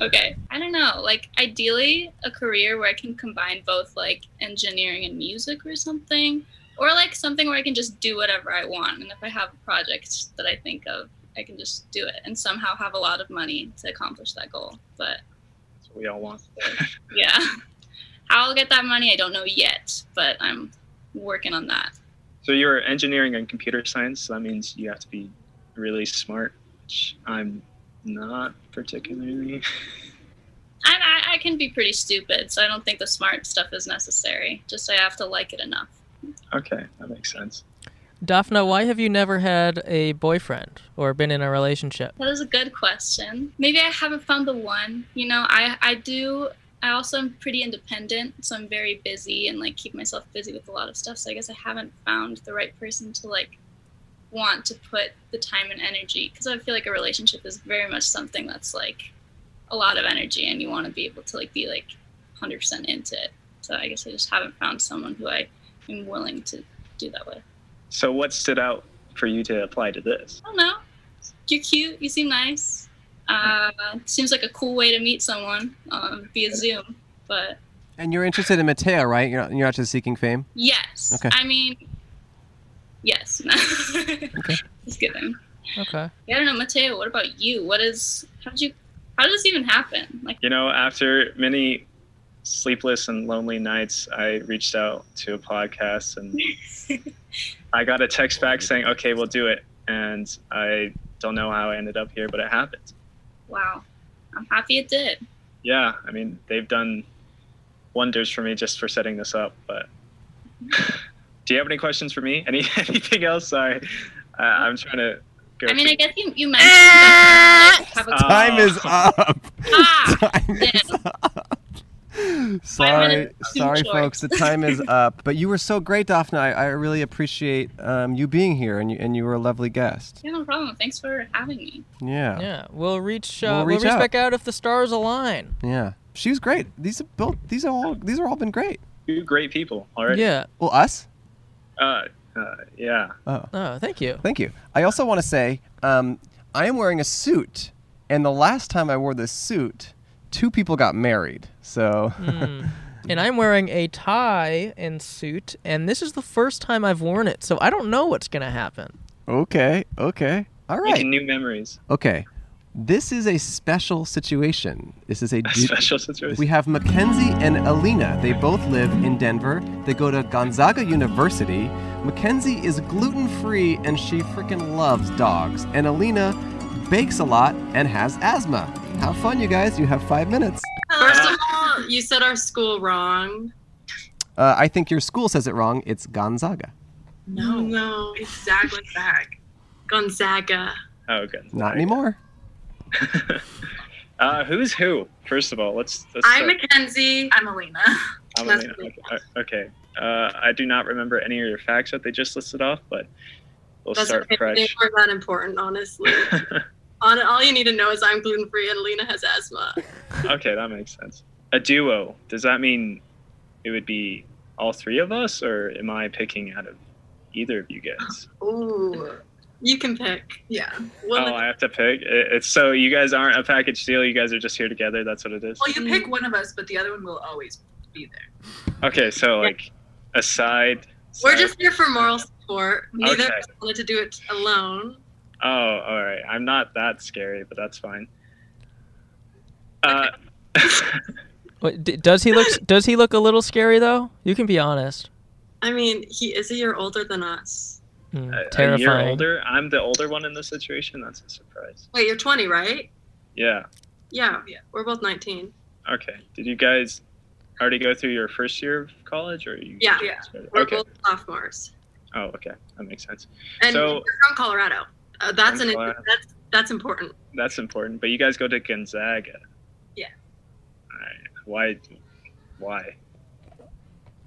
S8: okay, I don't know. Like ideally, a career where I can combine both like engineering and music or something, or like something where I can just do whatever I want. And if I have a project that I think of, I can just do it and somehow have a lot of money to accomplish that goal. But
S4: that's what we all want.
S8: yeah, how I'll get that money, I don't know yet, but I'm working on that.
S4: So you're engineering and computer science. So that means you have to be really smart, which I'm not particularly. (laughs)
S8: I, I, I can be pretty stupid, so I don't think the smart stuff is necessary. Just I have to like it enough.
S4: Okay, that makes sense.
S1: Daphne, why have you never had a boyfriend or been in a relationship?
S8: That is a good question. Maybe I haven't found the one. You know, I I do. I also am pretty independent, so I'm very busy and like keep myself busy with a lot of stuff. So I guess I haven't found the right person to like want to put the time and energy because I feel like a relationship is very much something that's like a lot of energy and you want to be able to like be like 100% into it. So I guess I just haven't found someone who I am willing to do that with.
S4: So what stood out for you to apply to this?
S8: I don't know. Oh, You're cute. You seem nice. Uh, seems like a cool way to meet someone um, via Zoom. But
S2: And you're interested in Mateo, right? You're not, you're not just seeking fame?
S8: yes,
S2: Okay.
S8: I mean, yes. (laughs) Just kidding.
S1: Okay.
S8: Yeah, I don't know, Mateo. What about you? What is? How did you? How did this even happen? Like,
S4: You know, after many sleepless and lonely nights, I reached out to a podcast and
S8: (laughs)
S4: I got a text back saying, okay, we'll do it. And I don't know how I ended up here, but it happened.
S8: wow. I'm happy it did.
S4: Yeah, I mean, they've done wonders for me just for setting this up. But (laughs) do you have any questions for me? Any (laughs) anything else? Sorry, uh, I'm trying to. Go
S8: I mean,
S4: through-
S8: I guess you, you mentioned that you, like, have a
S4: Uh,
S2: Time is up. (laughs)
S8: Ah,
S2: Time is
S8: damn.
S2: up.
S8: Five
S2: Sorry,
S8: minutes too
S2: sorry,
S8: short.
S2: folks. The time is up. But you were so great, Daphne. I, I really appreciate um, you being here, and you, and you were a lovely guest.
S8: yeah, no problem. Thanks for having me.
S2: Yeah, yeah.
S1: Yeah, we'll reach.
S2: We'll
S1: Uh, we'll
S2: reach
S1: reach,
S2: out.
S1: back out if the stars align.
S2: She was great. These are both. These are all. These are all been great.
S4: (laughs) two great people. All right.
S1: Yeah.
S2: Well, us.
S4: Uh, uh, yeah.
S2: Oh.
S1: Oh, thank you.
S2: Thank you. I also want to say um, I am wearing a suit, and the last time I wore this suit, two people got married. So
S1: Hmm.
S2: (laughs)
S1: And I'm wearing a tie and suit, and this is the first time I've worn it, so I don't know what's gonna happen.
S2: okay, okay, all right,
S4: Making new memories.
S2: okay. This is a special situation. This is a,
S4: A
S2: du-
S4: special situation.
S2: We have Mackenzie and Alina. They both live in Denver. They go to Gonzaga University. Mackenzie is gluten free and she freaking loves dogs. And Alina bakes a lot and has asthma. Have fun, you guys. You have five minutes.
S9: First
S4: Uh,
S9: of all, you said our school wrong.
S2: Uh, I think your school says it wrong. It's Gonzaga,
S9: No, no,
S6: It's Zag like Zag.
S9: Gonzaga.
S4: oh, good.
S2: not anymore.
S4: Uh, who's who? First of all, let's. let's
S9: I'm
S4: start.
S9: Mackenzie.
S6: I'm Alina.
S4: I'm
S9: that's
S4: Elena.
S9: me.
S4: Okay. okay. Uh, I do not remember any of your facts that they just listed off, but we'll
S9: That's
S4: start
S9: okay. They
S4: fresh.
S9: were not
S4: (laughs)
S9: important, honestly. On, all you need to know is I'm gluten free and Alina has asthma.
S4: (laughs) okay, that makes sense. A duo. Does that mean it would be all three of us, or am I picking out of either of you guys?
S9: Ooh. You can pick.
S6: Yeah.
S9: One
S4: oh,
S9: of-
S4: I have to pick. It- It's so you guys aren't a package deal. You guys are just here together. That's what it is.
S6: Well, you pick one of us, but the other one will always be there.
S4: Okay, so like aside.
S9: we're just here for moral support. Neither
S4: Okay.
S9: of us wanted to do it alone.
S4: Oh, all right. I'm not that scary, but that's fine. Uh,
S1: What, d- does he look?
S2: (laughs)
S1: Does he look a little scary though? You can be honest.
S9: I mean, he is a year older than us.
S1: Mm,
S4: a- a
S1: terrifying.
S4: year older. I'm the older one in this situation. That's a surprise.
S9: Wait, you're 20, right?
S4: Yeah.
S9: Yeah,
S6: Yeah.
S9: we're both 19.
S4: Okay. Did you guys already go through your first year of college, or you?
S9: Yeah.
S6: Yeah.
S9: We're
S4: Okay.
S9: both sophomores.
S4: Oh, okay. That makes sense.
S9: And
S4: So-
S9: we're from Colorado. Uh, that's
S4: From
S9: an
S4: Colorado.
S9: that's that's important.
S4: That's important. But you guys go to Gonzaga.
S6: Yeah.
S4: All right. Why? Why?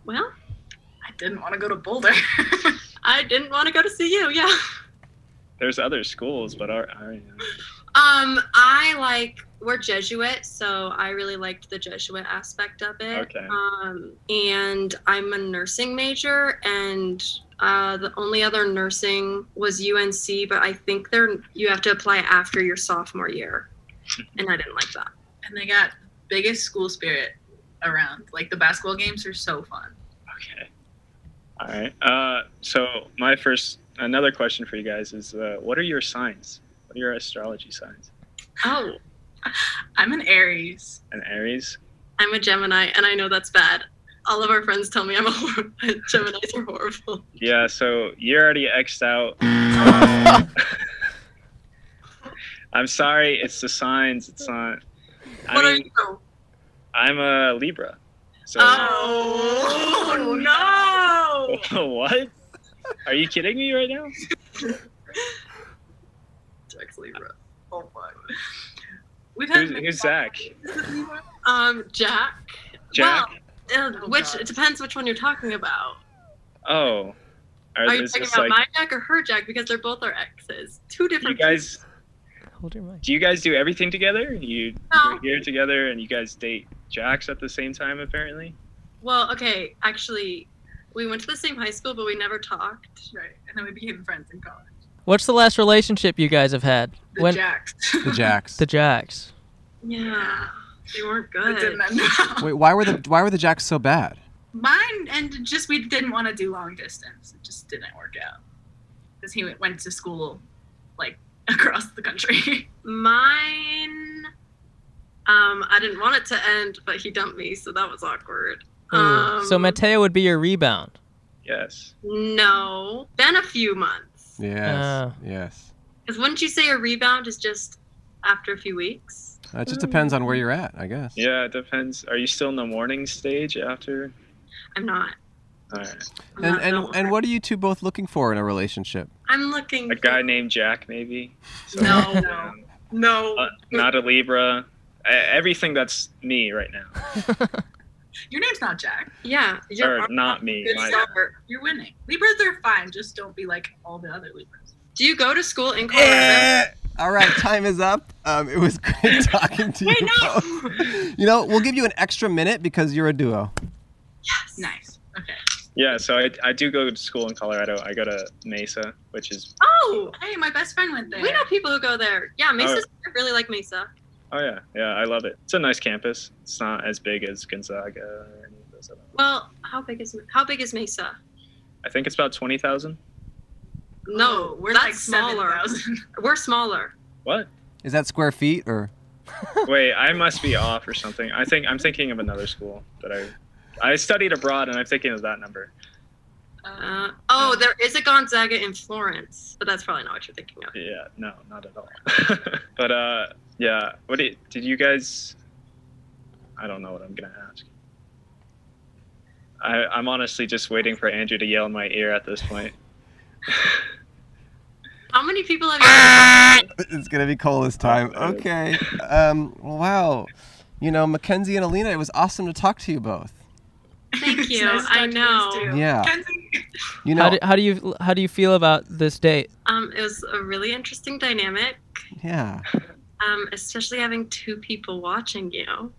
S9: Well,
S6: I didn't want to go to Boulder. (laughs)
S9: I didn't want to go to CU. Yeah.
S4: There's other schools, but our, our
S9: Um, I like we're Jesuit, so I really liked the Jesuit aspect of it.
S4: Okay.
S9: Um, and I'm a nursing major, and uh, the only other nursing was UNC, but I think they're you have to apply after your sophomore year, and I didn't like that.
S6: and they got biggest school spirit around. Like the basketball games are so fun.
S4: okay. All right. Uh, so my first another question for you guys is, uh, what are your signs? What are your astrology signs?
S9: Oh,
S6: I'm an Aries.
S4: An Aries.
S9: I'm a Gemini, and I know that's bad. All of our friends tell me I'm a (laughs) hor- Geminis are horrible.
S4: Yeah, so you're already X'd out. Um, (laughs) I'm sorry, it's the signs. It's not.
S9: what
S4: I
S9: are
S4: mean,
S9: you?
S4: I'm a Libra. So
S9: Oh (laughs) no!
S4: (laughs) what? Are you kidding me right
S9: (laughs)
S4: now?
S6: Jack's Libra. Oh my. We've had
S4: Who's, who's Zach?
S9: Um, Jack.
S4: Jack?
S9: Uh,
S6: Oh,
S9: which
S6: God.
S9: it depends which one you're talking about.
S4: Oh, are,
S9: Are you
S4: is
S9: talking
S4: this like
S9: about my Jack or her Jack? Because they're both our exes. Two
S4: you
S9: different.
S4: guys?
S1: Hold your mic.
S4: Do you guys do everything together? You
S9: No.
S4: you're here together, and you guys date Jacks at the same time, apparently.
S9: Well, okay, actually, we went to the same high school, but we never talked.
S6: Right, and then we became friends in college.
S1: What's the last relationship you guys have had?
S6: The Jacks. (laughs)
S2: The Jacks.
S1: the Jacks.
S9: Yeah, they weren't
S6: That
S9: good.
S6: didn't end well.
S2: Wait, why were the why were the Jacks so bad?
S6: Mine and just we didn't want to do long distance. It just didn't work out because he went, went to school like (laughs) across the country.
S9: Mine. Um, I didn't want it to end, but he dumped me, so that was awkward.
S1: Ooh.
S9: Um,
S1: so Mateo would be your rebound.
S4: Yes.
S9: No, been a few months.
S2: Yes.
S1: Oh.
S6: (laughs)
S2: Yes.
S9: Because wouldn't you say a rebound is just after a few weeks?
S2: Uh, It just depends on where you're at, I guess.
S4: Yeah, it depends. Are you still in the morning stage after?
S9: I'm not.
S4: All right.
S9: I'm
S2: And
S9: not
S2: and
S9: gonna
S2: and
S9: lie.
S2: what are you two both looking for in a relationship?
S9: I'm looking.
S4: A guy named Jack, maybe. So,
S6: No,
S4: um,
S9: No.
S4: uh, not a Libra. Uh, everything that's me right now,
S6: Your name's not Jack.
S9: yeah, you're
S4: or not me.
S9: good
S4: My,
S9: start.
S6: You're winning. Libras are fine. Just don't be like all the other Libras.
S9: Do you go to school in Colorado?
S2: Eh. All right, time is up. Um, it was (laughs) great talking to you. both. You know, we'll give you an extra minute because you're a duo.
S9: Yes.
S6: Nice. Okay.
S4: yeah, so I, I do go to school in Colorado. I go to Mesa, which is
S9: Oh,
S6: Hey, my best friend went there.
S9: we know people who go there. Yeah, Mesa's. I really like Mesa.
S4: oh yeah, yeah, I love it. It's a nice campus. It's not as big as Gonzaga or any of those other. ones.
S9: Well, how big is how big is Mesa?
S4: I think it's about twenty
S2: (laughs)
S4: thousand.
S9: No,
S6: we're
S9: that's
S6: like
S9: smaller.
S6: 7,000.
S9: We're smaller.
S4: What?
S2: Is that square feet or?
S4: Wait, I must be off or something. I think I'm thinking of another school that I I studied abroad, and I'm thinking of that number.
S9: Uh, oh, there is a Gonzaga in Florence, but that's probably not what you're thinking of.
S4: Yeah, no, not at all. but uh, yeah, what did, did you guys? I don't know what I'm gonna ask. I, I'm honestly just waiting for Andrew to yell in my ear at this point.
S9: (laughs) How many people have you?
S2: It's gonna be Cole this time. (laughs) Okay. Um. Wow. You know, Mackenzie and Alina, it was awesome to talk to you both.
S6: (laughs)
S9: Thank you.
S6: nice
S9: I
S6: talking to you
S9: know.
S6: too.
S2: Yeah.
S6: (laughs) Mackenzie.
S2: You know.
S1: How do, how do you how do you feel about this date?
S9: Um, it was a really interesting dynamic,
S6: (laughs)
S2: Yeah.
S9: um, especially having two people watching you.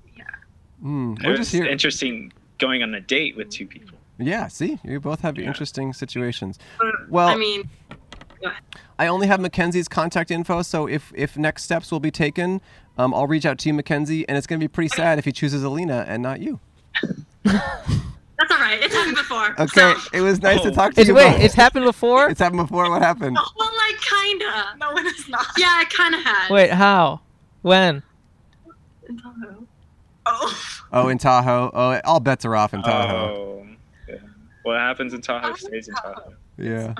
S2: Mm.
S4: It
S2: We're
S4: was
S2: just here.
S4: interesting going on a date with two people.
S2: Yeah. See, you both have
S4: Yeah.
S2: interesting situations.
S9: But,
S2: Well,
S9: I mean,
S2: I only have Mackenzie's contact info, so if if next steps will be taken, um, I'll reach out to you, Mackenzie, and it's gonna be pretty sad if he chooses Alina and not you.
S9: that's all right. It's happened before.
S2: Okay,
S9: So,
S2: it was nice to
S4: Oh.
S2: talk to
S1: It's,
S2: you.
S1: wait,
S2: both.
S1: it's happened before.
S2: It's happened before. What happened?
S9: Oh, well, like kinda.
S6: No, it is not.
S9: Yeah, I kind of had.
S1: wait, how? When?
S6: Oh.
S2: Oh, in Tahoe. Oh, all bets are off in Tahoe.
S4: Oh, yeah. what happens in Tahoe stays in Tahoe.
S2: Yeah.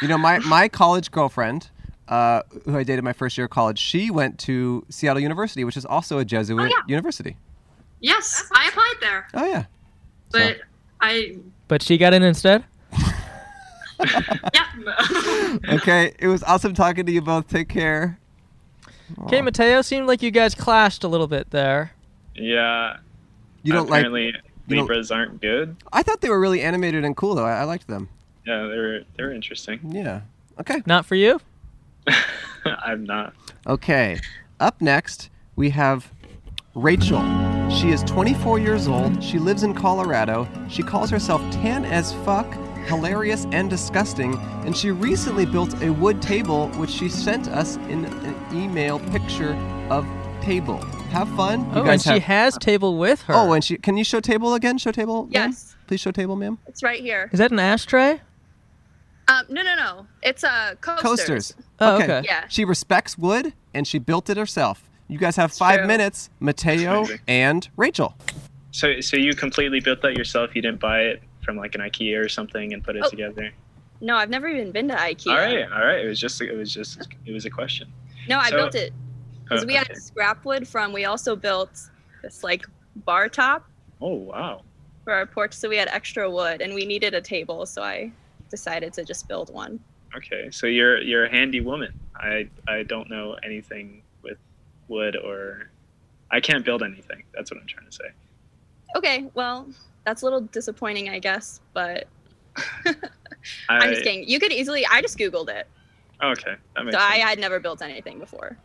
S2: You know, my my college girlfriend, uh, who I dated my first year of college, she went to Seattle University, which is also a Jesuit
S9: Oh, yeah.
S2: university.
S9: Yes, I applied there,
S2: Oh yeah. So-
S9: but I
S1: But she got in instead.
S9: (laughs) yeah.
S2: okay, it was awesome talking to you both. Take care.
S1: Okay, Mateo seemed like you guys clashed a little bit there.
S4: Yeah,
S2: You don't like?
S4: apparently
S2: you don't-
S4: Libras aren't good.
S2: (laughs) I thought they were really animated and cool though. I, I liked them.
S4: Yeah, they're they're interesting.
S2: Yeah. Okay.
S1: Not for you.
S4: (laughs) I'm not.
S2: Okay. Up next, we have Rachel. She is 24 years old. She lives in Colorado. She calls herself tan as fuck, hilarious and disgusting, and she recently built a wood table which she sent us in an email picture of table. Have fun.
S1: Oh, and she has table with her.
S2: Oh, and she can you show table again? Show table? ma'am?
S10: Yes.
S2: Please show table, ma'am.
S10: It's right here.
S1: is that an ashtray?
S10: Um, no, no, no. It's a uh, coasters.
S2: Coasters.
S1: Oh, okay.
S10: Yeah.
S2: She respects wood and she built it herself. You guys have five
S10: true.
S2: minutes, Mateo
S4: Amazing.
S2: and Rachel.
S4: So so you completely built that yourself? You didn't buy it from like an IKEA or something and put it
S10: Oh.
S4: together?
S10: No, I've never even been to IKEA.
S4: All right, all right. It was just it was just it was a question.
S10: No, I
S4: So-
S10: built it because
S4: Uh,
S10: we had
S4: okay.
S10: scrap wood from. We also built this like bar top
S4: Oh wow.
S10: for our porch, so we had extra wood, and we needed a table, so I decided to just build one.
S4: Okay, so you're you're a handy woman. I I don't know anything with wood or I can't build anything. That's what I'm trying to say.
S10: Okay, well, that's a little disappointing, I guess, but
S4: I,
S10: I'm just kidding. You could easily. I just googled it,
S4: Okay, that makes
S10: so I
S4: sense.
S10: had never built anything before.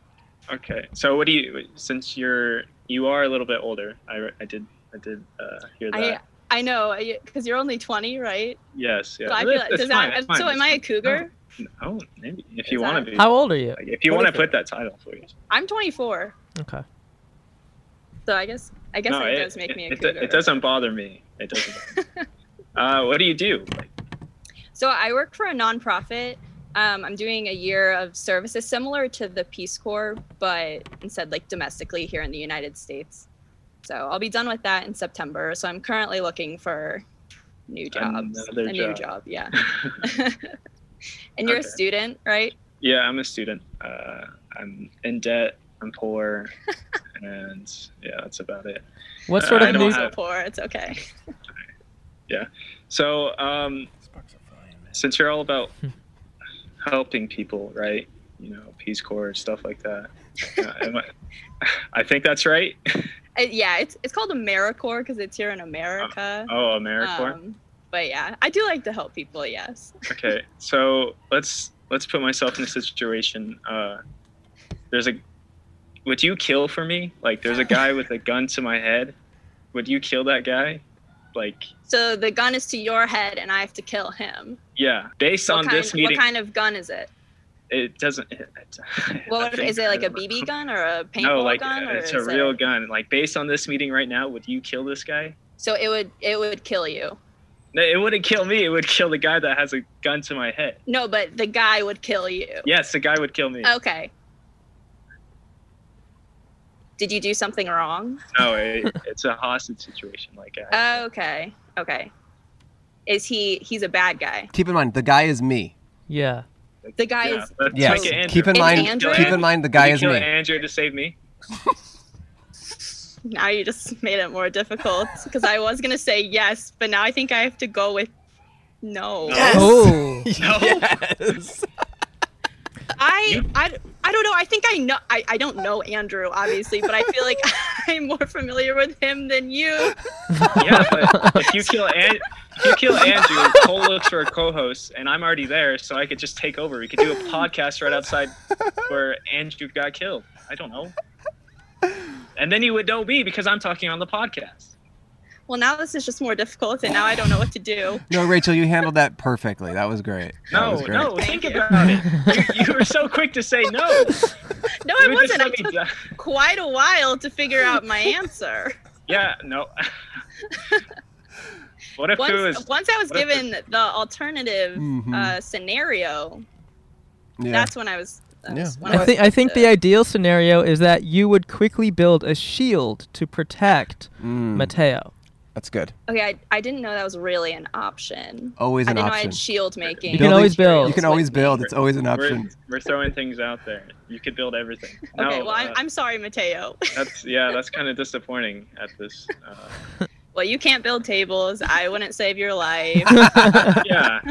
S4: Okay, so what do you? Since you're you are a little bit older, I, I did I did uh, hear that.
S10: I I know because you're only 20, right?
S4: yes, yeah.
S10: so I
S4: That's-
S10: feel like,
S4: that's
S10: does
S4: fine,
S10: that,
S4: that's fine,
S10: so am I
S4: that's
S10: a cougar?
S4: fine. Oh, maybe if you
S10: Is
S4: want
S10: that-
S4: to be.
S1: How old are you?
S4: Like, if you want to put that title for you.
S10: I'm 24,
S1: Okay.
S10: so I guess I guess it, does make me a
S4: it,
S10: cougar.
S4: It doesn't bother me. It doesn't. Bother
S10: (laughs)
S4: me. uh, what do you do? Like,
S10: So I work for a nonprofit. Um, I'm doing a year of services similar to the Peace Corps, but instead like domestically here in the United States. So I'll be done with that in September. So I'm currently looking for new jobs.
S4: Another
S10: a new
S4: job.
S10: job,
S4: (laughs)
S10: yeah. (laughs) and you're
S4: Okay.
S10: a student, right?
S4: yeah, I'm a student. Uh, I'm in debt. I'm poor,
S10: (laughs)
S4: and yeah, that's about it.
S1: What
S4: Uh,
S1: sort
S4: I
S1: of
S4: don't
S1: new?
S10: so
S4: have-
S10: poor. It's okay.
S4: So, um, since you're all about helping people, right? You know, Peace Corps, stuff like that. Uh, am I, (laughs) I think that's right.
S10: Uh, yeah, it's it's called AmeriCorps because it's here in America.
S4: Oh, AmeriCorps.
S10: Um, but yeah, I do like to help people. Yes.
S4: okay, so let's let's put myself in a situation. Uh, there's a. Would you kill for me? Like, there's a guy with a gun to my head. Would you kill that guy? Like,
S10: So the gun is to your head, and I have to kill him.
S4: yeah. Based
S10: What
S4: on
S10: kind,
S4: this meeting,
S10: What kind of gun is it?
S4: it doesn't. It, it- I
S10: What would,
S4: think-
S10: is it like
S4: I
S10: a
S4: don't know.
S10: BB gun or a paintball
S4: No, like
S10: gun?
S4: uh,
S10: or
S4: it's a
S10: is
S4: real
S10: It,
S4: gun. Like, based on this meeting right now, would you kill this guy?
S10: so it would it would kill you.
S4: No, it wouldn't kill me. It would kill the guy that has a gun to my head.
S10: No, but the guy would kill you.
S4: Yes, the guy would kill me.
S10: Okay. Did you do something wrong?
S4: No, it, it's a hostage situation. Like,
S10: (laughs)
S4: I,
S10: Okay. Okay. Is he? He's a bad guy.
S2: Keep in mind, the guy is me.
S1: Yeah.
S10: The guy
S4: yeah,
S10: is.
S4: let's
S2: Yes.
S4: make it Andrew.
S2: Keep in
S10: Is
S2: mind.
S10: Andrew-
S2: Keep in mind, the
S4: Did
S2: guy
S4: you
S2: is
S4: kill
S2: me.
S4: Andrew to save me.
S10: Now you just made it more difficult because I was gonna say yes, but now I think I have to go with no.
S4: Yes.
S10: (laughs)
S1: Oh.
S4: No.
S2: (laughs) Yes.
S10: I, I I don't know. I think I know. I, I don't know Andrew obviously, but I feel like (laughs) I'm more familiar with him than you.
S4: yeah, but if you kill An- if you kill Andrew, Cole looks for a co-host, and I'm already there, so I could just take over. We could do a podcast right outside where Andrew got killed. I don't know. And then you would know me because I'm talking on the podcast.
S10: Well, now this is just more difficult, and now I don't know what to do.
S2: No, Rachel, you handled that perfectly. That was great. that
S4: No,
S2: was great.
S4: no, think
S10: Thank you.
S4: about it.
S2: (laughs)
S4: You, you were so quick to say no. You
S10: No, I
S4: would just
S10: wasn't.
S4: let
S10: I
S4: me
S10: took
S4: die.
S10: quite a while to figure
S4: (laughs)
S10: out my answer.
S4: Yeah, no. (laughs) what if it
S10: Once,
S4: was?
S10: once I was
S4: what if it-
S10: given the alternative
S2: Mhm.
S10: uh, scenario,
S2: Yeah.
S10: that's when I was. uh, that
S2: Yeah.
S10: was when
S1: I
S10: was
S1: think I think the
S10: interested.
S1: ideal scenario is that you would quickly build a shield to protect
S2: Mm,
S1: Mateo.
S2: that's good.
S10: Okay, I, I didn't know that was really an option.
S2: Always
S10: I
S2: an
S10: didn't know I
S2: option.
S10: had shield making.
S1: You can always build.
S2: You can always build. It's always an
S4: We're,
S2: option.
S4: we're throwing things out there. You could build everything.
S10: Okay,
S4: no,
S10: well, I'm,
S4: uh,
S10: I'm sorry, Mateo. (laughs)
S4: that's yeah, that's kind of disappointing at this. Uh,
S10: well, you can't build tables. I wouldn't save your (laughs) life.
S4: (laughs) yeah.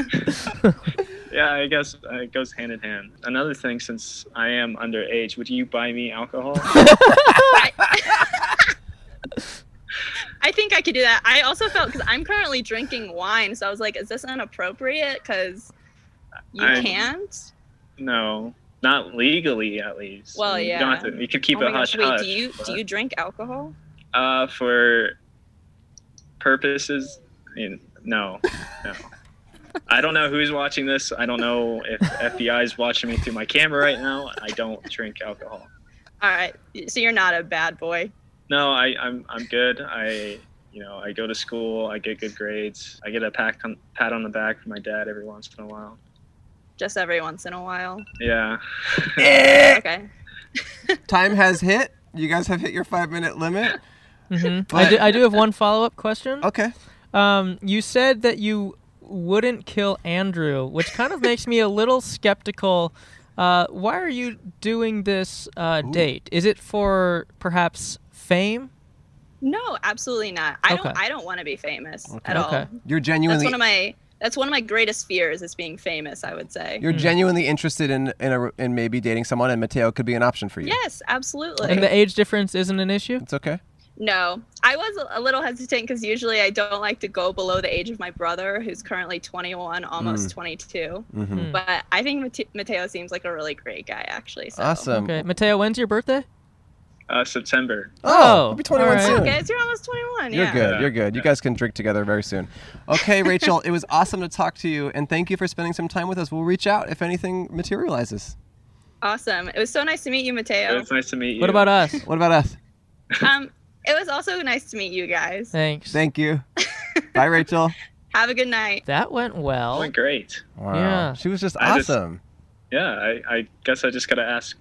S4: yeah, I guess uh, it goes hand in hand. Another thing, since I am underage, would you buy me
S10: (laughs)
S4: alcohol?
S10: I think I could do that. I also felt because I'm currently drinking wine, so I was like, is this inappropriate? Because you
S4: I'm-
S10: can't.
S4: no, not legally, at least.
S10: Well,
S4: I mean, You, don't have
S10: yeah.
S4: to, you could keep
S10: oh
S4: it
S10: my gosh,
S4: hush
S10: wait,
S4: hush.
S10: do you do you drink alcohol?
S4: Uh, for purposes, I mean, no, no. I don't know who's watching this. I don't know if FBI is watching me through my camera right now. I don't drink alcohol.
S10: All right, so you're not a bad boy.
S4: No, I, I'm I'm good. I you know I go to school. I get good grades. I get a pat on, pat on the back from my dad every once in a while.
S10: Just every once in a while.
S1: (laughs)
S4: Yeah.
S2: Mm-hmm. Eh.
S10: okay.
S2: Time has hit. You guys have hit your five minute limit.
S1: hmm (laughs) I,
S2: But-
S1: do, I do have one follow up question.
S2: Okay.
S1: Um, you said that you wouldn't kill Andrew, which kind of makes me a little skeptical. Uh, why are you doing this uh,
S2: Ooh.
S1: date? Is it for perhaps fame?
S10: No, absolutely not. I don't.
S1: Okay.
S10: I don't want to be famous
S2: Okay.
S10: at all.
S1: Okay.
S2: You're
S10: That's
S2: genuinely
S10: one of my. That's one of my greatest fears is being famous. I would say.
S1: Hmm.
S2: you're genuinely interested in in, a, in maybe dating someone, and Mateo could be an option for you.
S10: Yes, absolutely.
S1: And the age difference isn't an issue?
S2: It's okay.
S10: No, I was a- a little hesitant because usually I don't like to go below the age of my brother, who's currently 21, almost 22.
S2: hmm
S1: Mm.
S10: But I think Mate- Mateo seems like a really great guy, actually. So.
S2: Awesome.
S1: Okay. Mateo, when's your birthday?
S4: Uh, September.
S1: Oh,
S2: you'll be 21
S1: alright.
S2: soon.
S10: Guys, you're almost 21.
S2: You're
S10: yeah.
S2: good.
S4: Yeah.
S2: You're good. You guys can drink together very soon.
S10: (laughs)
S2: Okay, Rachel, it was awesome to talk to you, and thank you for spending some time with us. We'll reach out if anything materializes.
S10: Awesome. It was so nice to meet you,
S4: It
S10: Mateo.
S4: was nice to meet you.
S1: What about us?
S2: What about us?
S10: um, it was also nice to meet you guys.
S1: Thanks.
S2: Thank you. Bye, Rachel.
S10: Have a good night.
S1: that went well.
S4: Went great.
S2: Wow.
S1: Yeah.
S2: She was just
S4: I just-
S2: awesome.
S4: Yeah. I, I guess I just gotta ask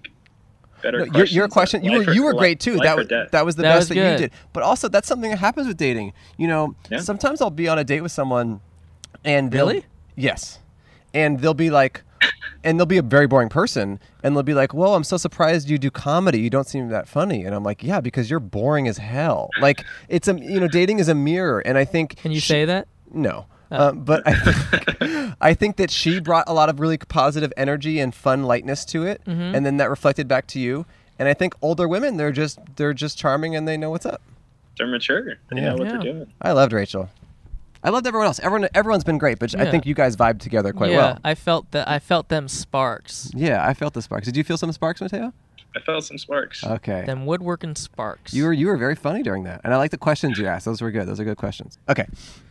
S4: better
S2: (laughs) No, your,
S4: questions.
S2: your question, you
S4: Life
S2: were
S4: or-
S2: you were
S4: li-
S2: great too.
S4: life
S2: That
S4: or
S2: was
S4: death.
S2: that was the
S1: That
S2: best
S1: was
S2: that
S1: good.
S2: you did. But also, that's something that happens with dating. You know,
S4: Yeah.
S2: sometimes I'll be on a date with someone, and they'll-
S1: Really?
S2: yes, and they'll be like, and they'll be a very boring person, and they'll be like, "Well, I'm so surprised you do comedy. You don't seem that funny." And I'm like, "Yeah, because you're boring as hell. Like it's a you know, dating is a mirror, and I think
S1: Can you
S2: sh-
S1: say that? Oh.
S2: no. Um, but I think, (laughs) I think that she brought a lot of really positive energy and fun lightness to it,
S1: Mm-hmm.
S2: and then that reflected back to you. And I think older women, they're just they're just charming and they know what's up.
S4: They're mature. They know what
S1: Yeah.
S4: they're doing.
S2: I loved Rachel. I loved everyone else. Everyone everyone's been great, but I
S1: Yeah.
S2: think you guys vibe together quite
S1: yeah,
S2: well.
S1: I felt that. I felt them sparks.
S2: Yeah, I felt the sparks. Did you feel some sparks, Mateo?
S4: I felt some sparks.
S2: Okay.
S1: Them woodworking sparks.
S2: You were you were very funny during that, and I like the questions you asked. Those were good. Those are good questions. Okay.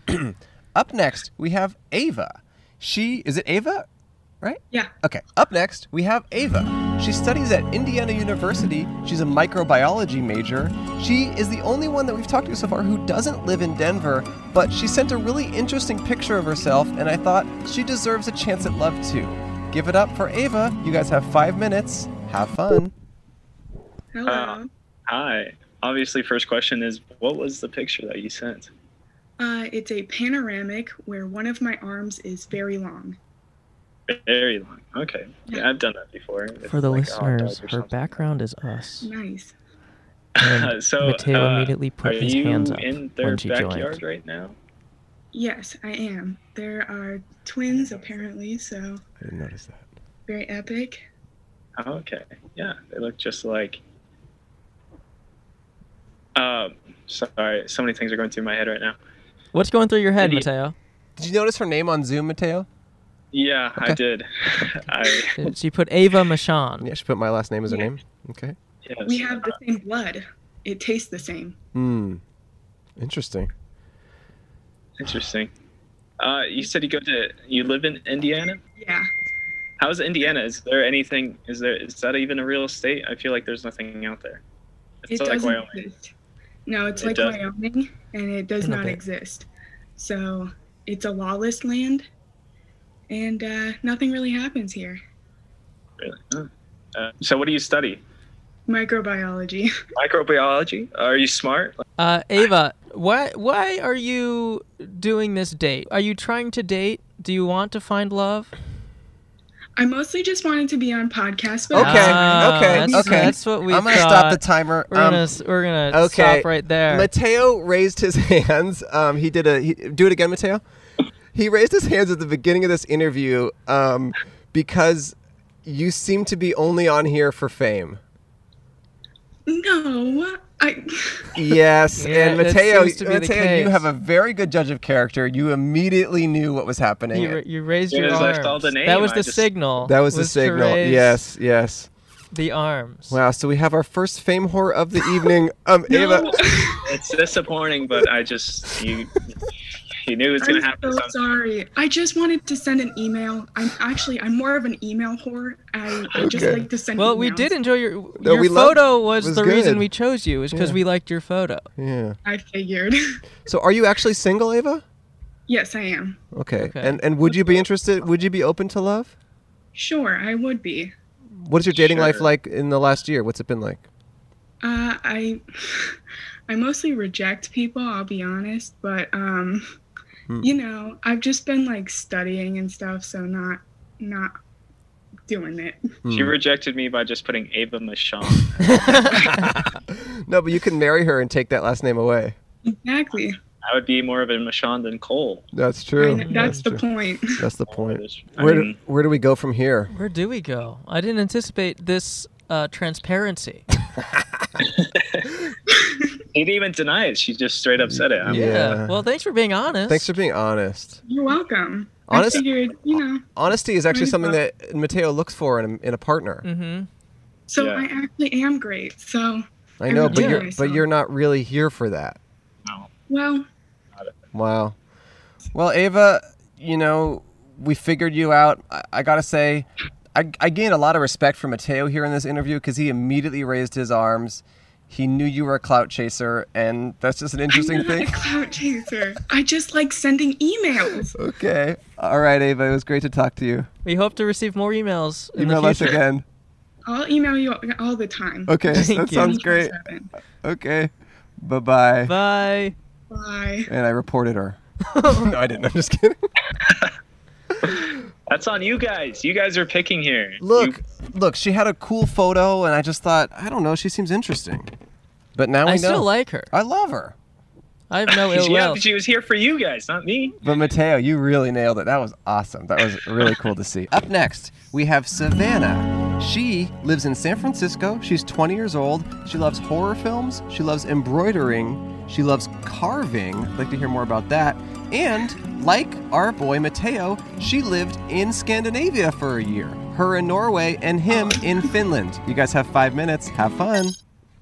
S2: (clears throat) Up next, we have Ava. She is it Ava, right?
S9: Yeah.
S2: Okay. Up next, we have Ava. She studies at Indiana University. She's a microbiology major. She is the only one that we've talked to so far who doesn't live in Denver, but she sent a really interesting picture of herself, and I thought she deserves a chance at love too. Give it up for Ava. You guys have five minutes. Have fun.
S9: Hello.
S4: Uh, Hi. Obviously, first question is what was the picture that you sent?
S11: (laughs) Uh, it's a panoramic where one of my arms is very long.
S4: Very long. Okay. Yeah, I've done that before. It's
S1: For the
S4: like a hot dog (laughs)
S1: listeners,
S4: or
S1: her background is us.
S11: Nice.
S1: And
S4: (laughs) So,
S1: Mateo
S4: uh,
S1: immediately put
S4: Are
S1: his
S4: you
S1: hands up
S4: in their
S1: when she
S4: backyard
S1: joined.
S4: right now?
S11: Yes, I am. There are twins apparently, so
S2: I didn't notice that.
S11: very epic.
S4: Oh, okay. Yeah, they look just like. Um, sorry, so many things are going through my head right now.
S1: What's going through your head,
S4: Idiot.
S1: Mateo?
S2: Did you notice her name on Zoom, Mateo?
S4: Yeah, I did. (laughs) I
S1: (laughs) Did She put Ava Michon.
S2: Yeah, she put my last name as her
S11: Yeah.
S2: name. Okay.
S4: yes.
S11: We have the same blood. It tastes the same.
S2: Hmm. Interesting.
S4: Interesting. Uh, you said you go to you live in Indiana.
S11: Yeah.
S4: How's Indiana? Is there anything? Is there is that even a real state? I feel like there's nothing out there. It's
S11: it
S4: like
S11: doesn't
S4: Wyoming.
S11: exist. No, it's
S4: It
S11: like
S4: doesn't.
S11: Wyoming, and it does
S1: In a
S11: not
S1: bit.
S11: exist. So it's a lawless land, and uh, nothing really happens here.
S4: Really? Huh. Uh, so what do you study?
S11: Microbiology. (laughs)
S4: Microbiology. Are you smart?
S1: Uh, Ava, why why are you doing this date? Are you trying to date? Do you want to find love?
S11: I mostly just wanted to be on podcast, but
S2: Okay.
S1: Ah,
S2: okay.
S1: That's,
S2: okay.
S1: That's what we.
S2: I'm gonna
S1: thought.
S2: stop the timer.
S1: We're
S2: Um,
S1: gonna s- we're gonna
S2: okay.
S1: stop right there.
S2: Mateo raised his (laughs) hands. Um, he did a he, do it again, Mateo. He raised his hands at the beginning of this interview um, because you seem to be only on here for fame.
S11: no, I.
S2: Yes,
S1: Yeah,
S2: and
S1: that
S2: Mateo,
S1: seems to be the
S2: Mateo, you
S1: case.
S2: have a very good judge of character. You immediately knew what was happening.
S1: you, ra- you raised
S4: Soon
S1: your
S4: as I
S1: arms.
S4: saw the name,
S1: that was
S4: I
S1: the
S4: just-
S1: signal.
S2: that was, the
S1: to
S2: signal.
S1: raise
S2: Yes, yes.
S1: The arms.
S2: Wow. So we have our first fame whore of the
S1: (laughs)
S2: evening. Um,
S11: (laughs)
S2: Ava.
S4: It's disappointing, but I just you you knew it's gonna
S11: I'm
S4: happen.
S11: so
S4: sometime.
S11: sorry. I just wanted to send an email. I'm actually I'm more of an email whore. I, I just
S2: Okay.
S11: like to send.
S1: Well, we
S11: emails.
S1: did enjoy your
S2: No,
S1: your
S2: we loved-
S1: photo was,
S2: was
S1: the reason
S2: good.
S1: we chose you is because
S2: Yeah.
S1: we liked your photo.
S2: Yeah.
S11: I figured. (laughs)
S2: So are you actually single, Ava?
S11: yes, I am.
S2: Okay.
S1: Okay.
S2: And and would you be interested? Would you be open to love?
S11: Sure, I would be.
S2: What is your dating life
S4: Sure.
S2: like in the last year? What's it been
S1: (laughs)
S2: like?
S11: Uh, I I mostly reject people. I'll be honest, but um,
S2: Hmm.
S11: you know, I've just been like studying and stuff, so not not doing it.
S4: She rejected me by just putting Ava Michon.
S2: no, but you can marry her and take that last name away.
S11: Exactly.
S4: I would be more of a Michon than Cole.
S2: That's
S11: I
S2: true.
S11: kn- that's the point.
S2: That's the point.
S4: I
S2: Where
S4: mean,
S2: do, where do we go from here?
S1: Where do we go? I didn't anticipate this uh, transparency.
S4: she didn't even deny it. She just straight up said it. I'm-
S2: Yeah.
S1: Well, thanks for being honest.
S2: Thanks for being honest.
S11: You're welcome.
S2: Honest-
S11: I figured, you know.
S2: Honesty is actually
S11: Really
S2: something
S11: fun.
S2: that Mateo looks for in a, in a partner.
S1: Mm-hmm.
S11: So
S4: Yeah.
S11: I actually am great. So
S2: I know, but
S11: Yeah.
S2: you're but you're not really here for that.
S4: No.
S11: well,
S2: Wow. Well, Ava, you know, we figured you out. I, I gotta say, I, I gained a lot of respect for Mateo here in this interview because he immediately raised his arms. He knew you were a clout chaser, and that's just an interesting
S11: I'm not
S2: thing.
S11: a clout chaser. I just like sending emails.
S2: (laughs) Okay. All right, Ava. It was great to talk to you.
S1: We hope to receive more emails. In
S2: Email
S1: the
S2: us (laughs)
S1: future.
S2: again.
S11: I'll email you all the time.
S2: Okay. that
S1: Thank you.
S2: sounds great.
S11: 24/7.
S2: Okay. Bye bye.
S1: Bye.
S11: Bye.
S2: And I reported (laughs) her. no, I didn't. I'm just kidding.
S4: That's on you guys. You guys are picking here.
S2: (laughs) Look,
S4: You-
S2: look. She had a cool photo, and I just thought, I don't know. She seems interesting. But now we
S1: I
S2: know.
S1: still like her.
S2: I love her.
S1: I have
S2: (laughs)
S1: no ill
S4: yeah,
S1: will.
S4: but she was here for you guys, not me.
S2: But Mateo, you really nailed it. That was awesome. That was really cool to see. Up next, we have Savannah. She lives in San Francisco. She's 20 years old. She loves horror films. She loves embroidering. She loves carving. I'd like to hear more about that. And like our boy Mateo, she lived in Scandinavia for a year. Her in Norway and him in Finland. You guys have five minutes. Have fun.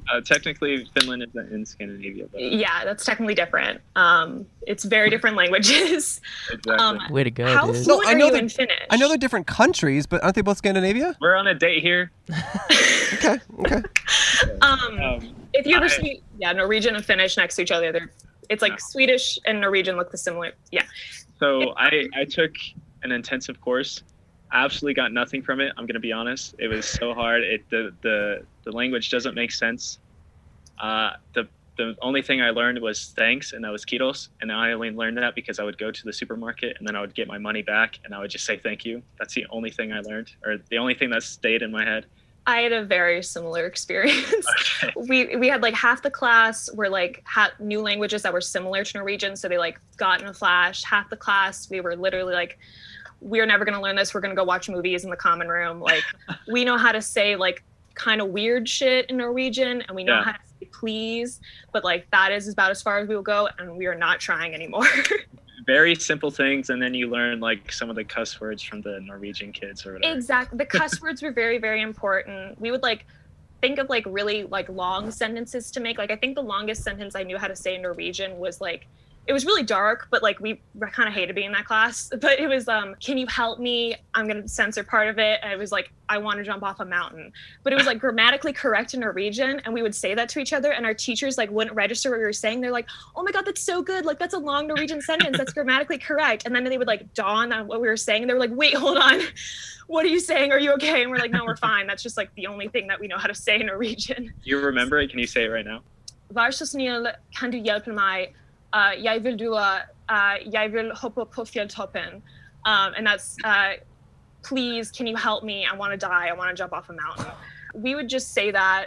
S4: Uh, technically, Finland isn't in Scandinavia, but
S12: Yeah, that's technically different. Um, it's very different languages. (laughs)
S4: exactly.
S12: Um,
S1: Way to go,
S12: How
S1: dude.
S12: fluent
S2: No, I know
S12: are you
S2: that-
S12: in Finnish?
S2: I know they're different countries, but aren't they both Scandinavia?
S4: We're on a date here.
S2: Okay, okay.
S12: Um,
S4: Um,
S12: if you're
S4: I-
S12: the Swe- yeah Norwegian and Finnish next to each other, they're it's like
S4: No.
S12: Swedish and Norwegian look the similar. Yeah,
S4: so I, I took an intensive course. Absolutely got nothing from it. I'm gonna be honest. It was so hard. It the the, the language doesn't make sense. Uh, the the only thing I learned was thanks, and that was Quitos. And I only learned that because I would go to the supermarket and then I would get my money back and I would just say thank you. That's the only thing I learned, or the only thing that stayed in my head.
S12: I had a very similar (laughs) experience. we we had like half the class were like ha- new languages that were similar to Norwegian, so they like got in a flash. Half the class we were literally like, we're never gonna learn this. We're gonna go watch movies in the common room. Like we know how to say like kind of weird shit in Norwegian, and we know
S4: Yeah.
S12: how to say please, but like that is about as far as we will go, and we are not trying anymore.
S4: Very simple things, and then you learn like some of the cuss words from the Norwegian kids or whatever.
S12: Exactly. The cuss words were very, very important. We would like think of like really like long sentences to make. Like I think the longest sentence I knew how to say in Norwegian was like it was really dark, but like we kind of hated being in that class. (laughs) But it was, um, can you help me? I'm gonna censor part of it. And it was like, I want to jump off a mountain. But it was like grammatically correct in Norwegian, and we would say that to each other, and our teachers like wouldn't register what we were saying. They're like, oh my god, that's so good. Like that's a long Norwegian sentence. That's grammatically correct. And then they would like dawn on what we were saying, and they were like, wait, hold on what are you saying? Are you okay? And we're like, no, we're fine. That's just like the only thing that we know how to say in Norwegian.
S4: You remember it? Can you say it right now?
S12: Vær så snill, kan du hjelpe meg? Uh, jeg vil dua, uh, jeg vil hoppe på fjelltoppen. Um, and that's, uh, please, can you help me? I want to die. I want to jump off a mountain. We would just say that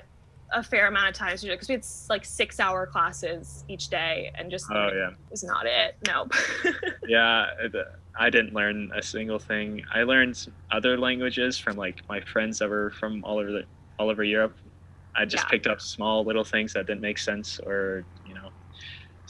S12: a fair amount of times because we had like six hour classes each day and just
S4: Oh
S12: like,
S4: yeah.
S12: is not it. Nope.
S4: yeah the- i didn't learn a single thing i learned other languages from like my friends that were from all over the all over europe i just
S12: Yeah.
S4: picked up small little things that didn't make sense or you know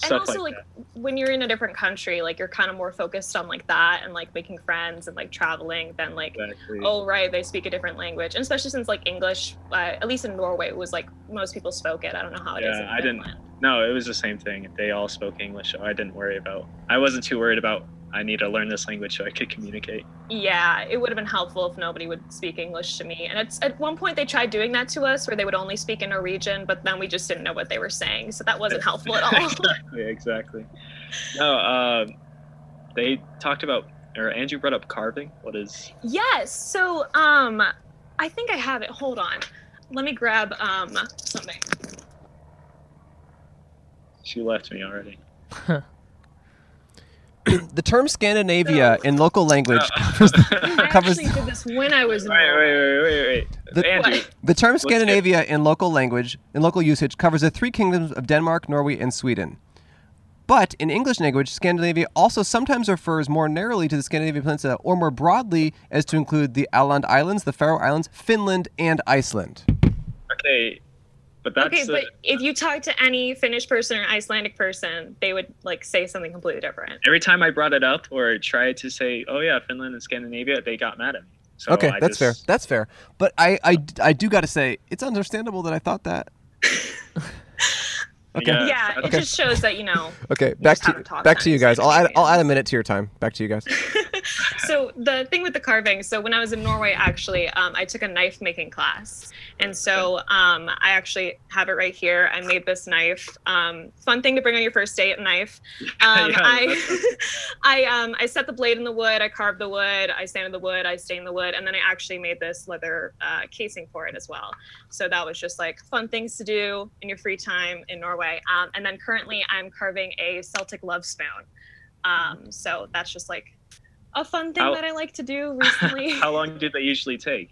S12: and
S4: stuff
S12: also
S4: like,
S12: like, when you're in a different country like you're kind of more focused on like that and like making friends and like traveling than like
S4: that exactly.
S12: oh right they speak a different language and especially since like english uh, at least in norway it was like most people spoke it i don't know how it is. in
S4: yeah i didn't
S12: Finland.
S4: no it was the same thing they all spoke english so i didn't worry about i wasn't too worried about i need to learn this language so i could communicate
S12: yeah it would have been helpful if nobody would speak english to me and it's at one point they tried doing that to us where they would only speak in norwegian but then we just didn't know what they were saying so that (laughs) wasn't
S4: (laughs)
S12: helpful at all
S4: exactly, exactly. No, um, they talked about, or Andrew brought up carving. What is?
S12: Yes. So, um, I think I have it. Hold on. Let me grab um something.
S4: She left me already.
S2: the term Scandinavia in local language covers,
S4: (laughs)
S12: I
S2: covers
S12: actually did this when I was. in
S4: Wait,
S12: Norway.
S4: wait, wait, wait, wait. Andrew,
S2: the, the term
S4: Let's get-
S2: Scandinavia in local language in local usage covers the three kingdoms of Denmark, Norway, and Sweden. But in English language, Scandinavia also sometimes refers more narrowly to the Scandinavian peninsula, or more broadly as to include the Åland Islands, the Faroe Islands, Finland, and Iceland.
S4: okay, but that's uh,
S12: okay,
S4: the-
S12: but if you talk to any Finnish person or Icelandic person, they would like say something completely different.
S4: every time I brought it up or tried to say, "Oh yeah, Finland and Scandinavia," they got mad at me. So
S2: okay,
S4: I
S2: that's fair.
S4: just-
S2: That's fair. But I, I, I do got to say, it's understandable that I
S4: (laughs)
S2: thought that. okay.
S12: Yeah, it just shows that you know.
S2: Okay, back
S12: just
S2: to
S12: haven't talked
S2: back
S12: about
S2: to you
S12: it.
S2: guys. I'll add I'll add a minute to your time. Back to you guys.
S12: So the thing with the carving. So when I was in Norway, actually, um, I took a knife making class, and so um, I actually have it right here. I made this knife. Um, fun thing to bring on your first date, a knife. Um,
S4: Yeah,
S12: I. (laughs) I um I set the blade in the wood, I carved the wood, I sanded the wood, I stained the wood, and then I actually made this leather uh, casing for it as well. So that was just like fun things to do in your free time in Norway. Um, and then currently I'm carving a Celtic love spoon. Um, so that's just like a fun thing
S4: How-
S12: that I like to do recently.
S4: (laughs) How long did they usually take?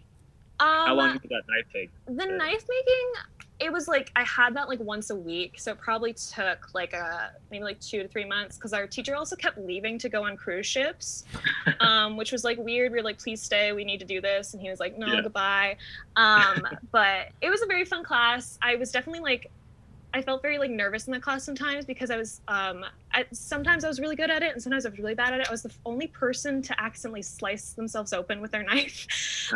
S4: How
S12: Um,
S4: long did that knife take?
S12: the knife making it was like i had that like once a week so it probably took like a maybe like two to three months because our teacher also kept leaving to go on cruise ships um, which was like weird we were like please stay we need to do this and he was like no
S4: Yeah.
S12: goodbye um, but it was a very fun class i was definitely like i felt very like nervous in the class sometimes because i was um, I, sometimes i was really good at it and sometimes i was really bad at it i was the only person to accidentally slice themselves open with their (laughs) knife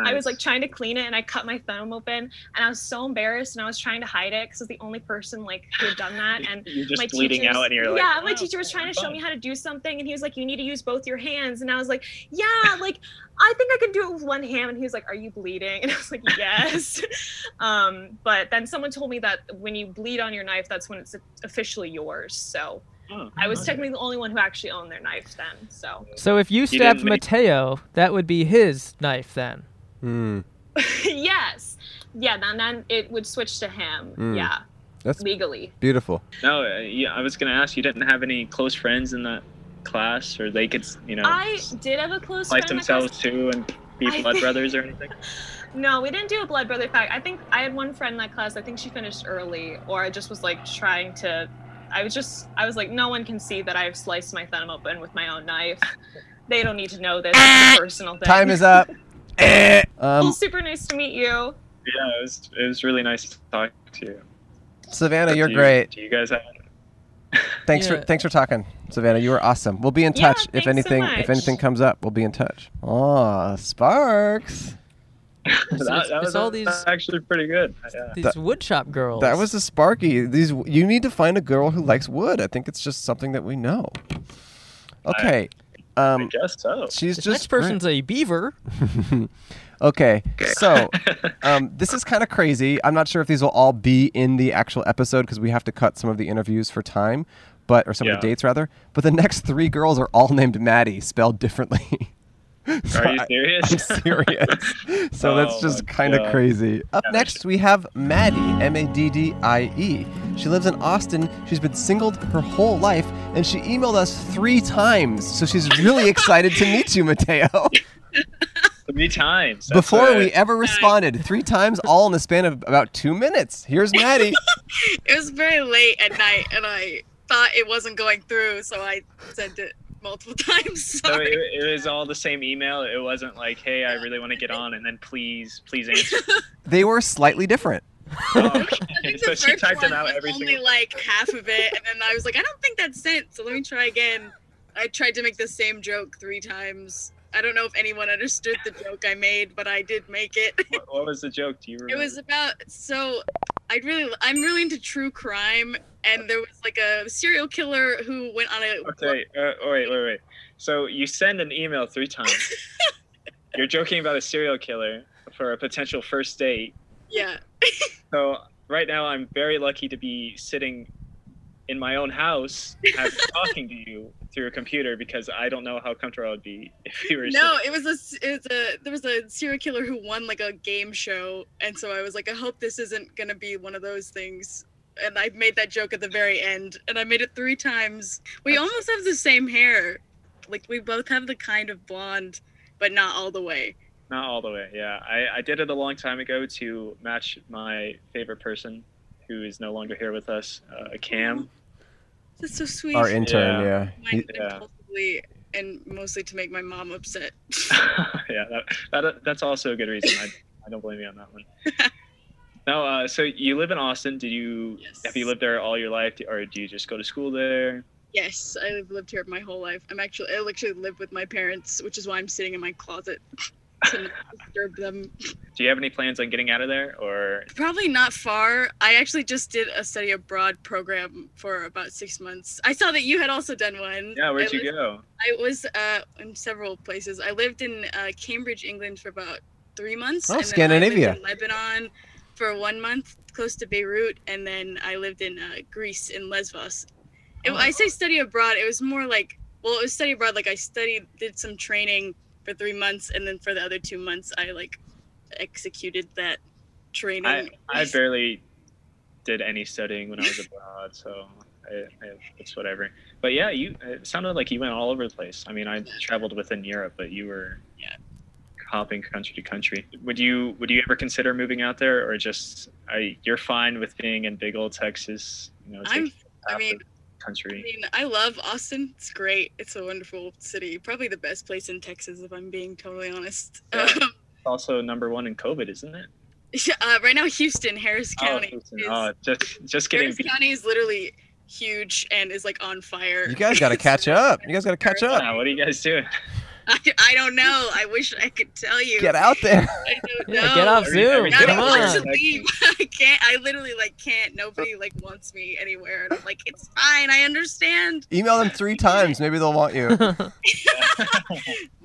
S12: I
S4: Nice.
S12: was like trying to clean it and I cut my thumb open and I was so embarrassed and I was trying to hide it because I was the only person like who had done that and
S4: You're just
S12: my
S4: bleeding
S12: teacher's-
S4: out and you're like,
S12: yeah my
S4: "Oh,
S12: teacher was
S4: okay,
S12: trying
S4: I'm
S12: to show
S4: fine."
S12: me how to do something and he was like you need to use both your hands and I was like yeah like I think I can do it with one hand and he was like are you bleeding (laughs) and
S4: (laughs)
S12: I was like yes um but then someone told me that when you bleed on your knife that's when it's officially yours so
S4: Oh,
S12: I was
S4: okay.
S12: technically the only one who actually owned their knife then so
S1: So if you
S4: didn't
S1: stabbed
S4: make-
S12: (laughs)
S1: Mateo, that would be his knife then.
S2: Hmm.
S12: yes yeah then, then it would switch to him
S2: Mm.
S12: yeah
S2: That's
S12: legally.
S2: Beautiful.
S4: No, uh, yeah, I was gonna ask. You didn't have any close friends in that class, or they could, you know,
S12: I did have a close
S4: fight
S12: friend. that goes-
S4: themselves too and be
S12: I (laughs)
S4: blood
S12: think-
S4: brothers or anything.
S12: No, we didn't do a blood brother fact. I think I had one friend in that class. I think she finished early, or I just was like trying to. I was just. I was like, no one can see that I've sliced my thumb open with my own knife. They don't need to know this. It's a personal thing.
S2: Time is
S12: (laughs)
S2: up. Eh.
S12: well,
S2: um,
S12: super nice to meet you.
S4: Yeah, it was it was really nice to talk to you.
S2: Savannah, you're
S4: Do you-
S2: great.
S4: Do you guys have?
S2: Thanks
S4: Yeah.
S2: for thanks for talking, Savannah. You were awesome. We'll be in
S4: Yeah,
S2: touch
S4: thanks
S2: if
S4: so
S2: anything
S4: much.
S2: if anything comes up. We'll be in touch. Oh, sparks.
S4: (laughs) that,
S13: it's-
S4: that
S13: it's
S4: was
S13: all
S4: a- that's actually pretty good. Yeah.
S13: These woodshop girls.
S2: That was a sparky. These you need to find a girl who likes wood. I think it's just something that we know. Okay. um,
S4: guess so.
S2: She's
S13: This
S2: just
S13: next person's a beaver.
S2: (laughs) okay,
S4: (laughs)
S2: so um, this is kind of crazy. I'm not sure if these will all be in the actual episode because we have to cut some of the interviews for time, but or some of the
S4: Yeah.
S2: dates rather. But the next three girls are all named Maddie, spelled differently. (laughs) So (laughs)
S4: Are you
S2: I-
S4: serious?
S2: I'm
S4: (laughs)
S2: serious. so that's
S4: Oh
S2: just
S4: my
S2: kind of
S4: God.
S2: crazy. Up next, we have Maddie, M A D D I E. She lives in Austin. She's been singled her whole life, and she emailed us three times. So she's
S4: (laughs)
S2: really excited to meet you, Mateo.
S4: Three times. That's
S2: Before
S4: a-
S2: we ever responded, three times, all in the span of about two minutes. Here's
S4: (laughs)
S2: Maddie.
S14: it was very late at night, and I thought it wasn't going through, so I sent it multiple (laughs) times.
S4: So it, it was all the same email. It wasn't like, "Hey, I really want to get on," and then please, please
S14: (laughs)
S4: answer.
S2: they were slightly different.
S4: Oh,
S2: (laughs)
S4: so she
S14: first
S4: typed them
S14: one
S4: out
S14: was
S4: every
S14: only
S4: single.
S14: like half of it, and then I was like, I don't think that's sent, so let me try again. I tried to make the same joke three times. I don't know if anyone understood the joke I made, but I did make it. (laughs)
S4: What, what was the joke? Do you
S14: It
S4: remember?
S14: was about so I really I'm really into true crime, and there was like a serial killer who went on a
S4: Okay. Uh, oh, wait, wait, wait. So you send an email three
S14: (laughs)
S4: times. You're joking about a serial killer for a potential first date.
S14: yeah.
S4: So right now, I'm very lucky to be sitting in my own house,
S14: (laughs)
S4: have, talking to you through a computer because I don't know how comfortable I'd be if you were.
S14: No, it was a s- it was a there was a serial killer who won like a game show, and so I was like, I hope this isn't gonna be one of those things. And I made that joke at the very end, and I made it three times. We almost have the same hair, like we both have the kind of blonde, but not all the way.
S4: Not all the way, yeah. I, I did it a long time ago to match my favorite person who is no longer here with us, uh, Cam.
S14: That's so sweet.
S2: Our intern,
S4: Oh
S2: yeah.
S14: Mine
S2: He- Yeah.
S14: impulsively and mostly to make my mom upset.
S4: (laughs)
S14: (laughs)
S4: yeah, that, that, that's also a good reason. I, I don't blame you on that one. no, uh, so you live in Austin. Did you have you lived there all your life, or do you just go to school there?
S14: Yes, I've lived here my whole life. I'm actually I actually live with my parents, which is why I'm sitting in my closet (laughs) to not disturb them.
S4: Do you have any plans on getting out of there, or
S14: Probably not far. I actually just did a study abroad program for about six months. I saw that you had also done one.
S4: yeah, where'd
S14: I
S4: you
S14: lived-
S4: go?
S14: I was uh, in several places. I lived in uh, Cambridge, England for about three months.
S2: Oh,
S14: and then I lived
S2: Scandinavia.
S14: in Lebanon for one month, close to Beirut, and then I lived in uh, Greece in Lesbos. It, I
S2: Oh.
S14: say study abroad. It was more like well, it was study abroad. Like I studied, did some training for three months, and then for the other two months, I like executed that training.
S4: I, I barely did any studying when I was abroad, so I, I, it's whatever. But yeah, you it sounded like you went all over the place. I mean, I traveled within Europe, but you were hopping country to country. Would you would you ever consider moving out there, or just I, you're fine with being in big old Texas? You know, it's
S14: I'm-
S4: like
S14: I
S4: half
S14: mean,
S4: the
S14: I
S4: country.
S14: mean, I love Austin. It's great. It's a wonderful city. Probably the best place in Texas, if I'm being totally honest. (laughs)
S4: Yeah.
S14: Um,
S4: also, number one in COVID, isn't it?
S14: uh, right now, Houston, Harris County.
S4: Oh, Houston. oh just just getting
S14: Harris County is literally huge and is like on fire.
S2: You guys got
S14: (laughs)
S2: to catch up. You guys got to catch up.
S4: what are you guys doing?
S14: I, I don't know. I wish I could tell you.
S2: Get out there.
S14: (laughs) I don't know.
S2: (laughs) Yeah, get off Every- Zoom. every
S14: Now
S2: Come
S14: I want to
S2: on.
S14: leave. (laughs) I can't. I literally like can't. Nobody like wants me anywhere. And I'm like, it's fine. I understand.
S2: Email them three times. Maybe they'll want you.
S4: (laughs)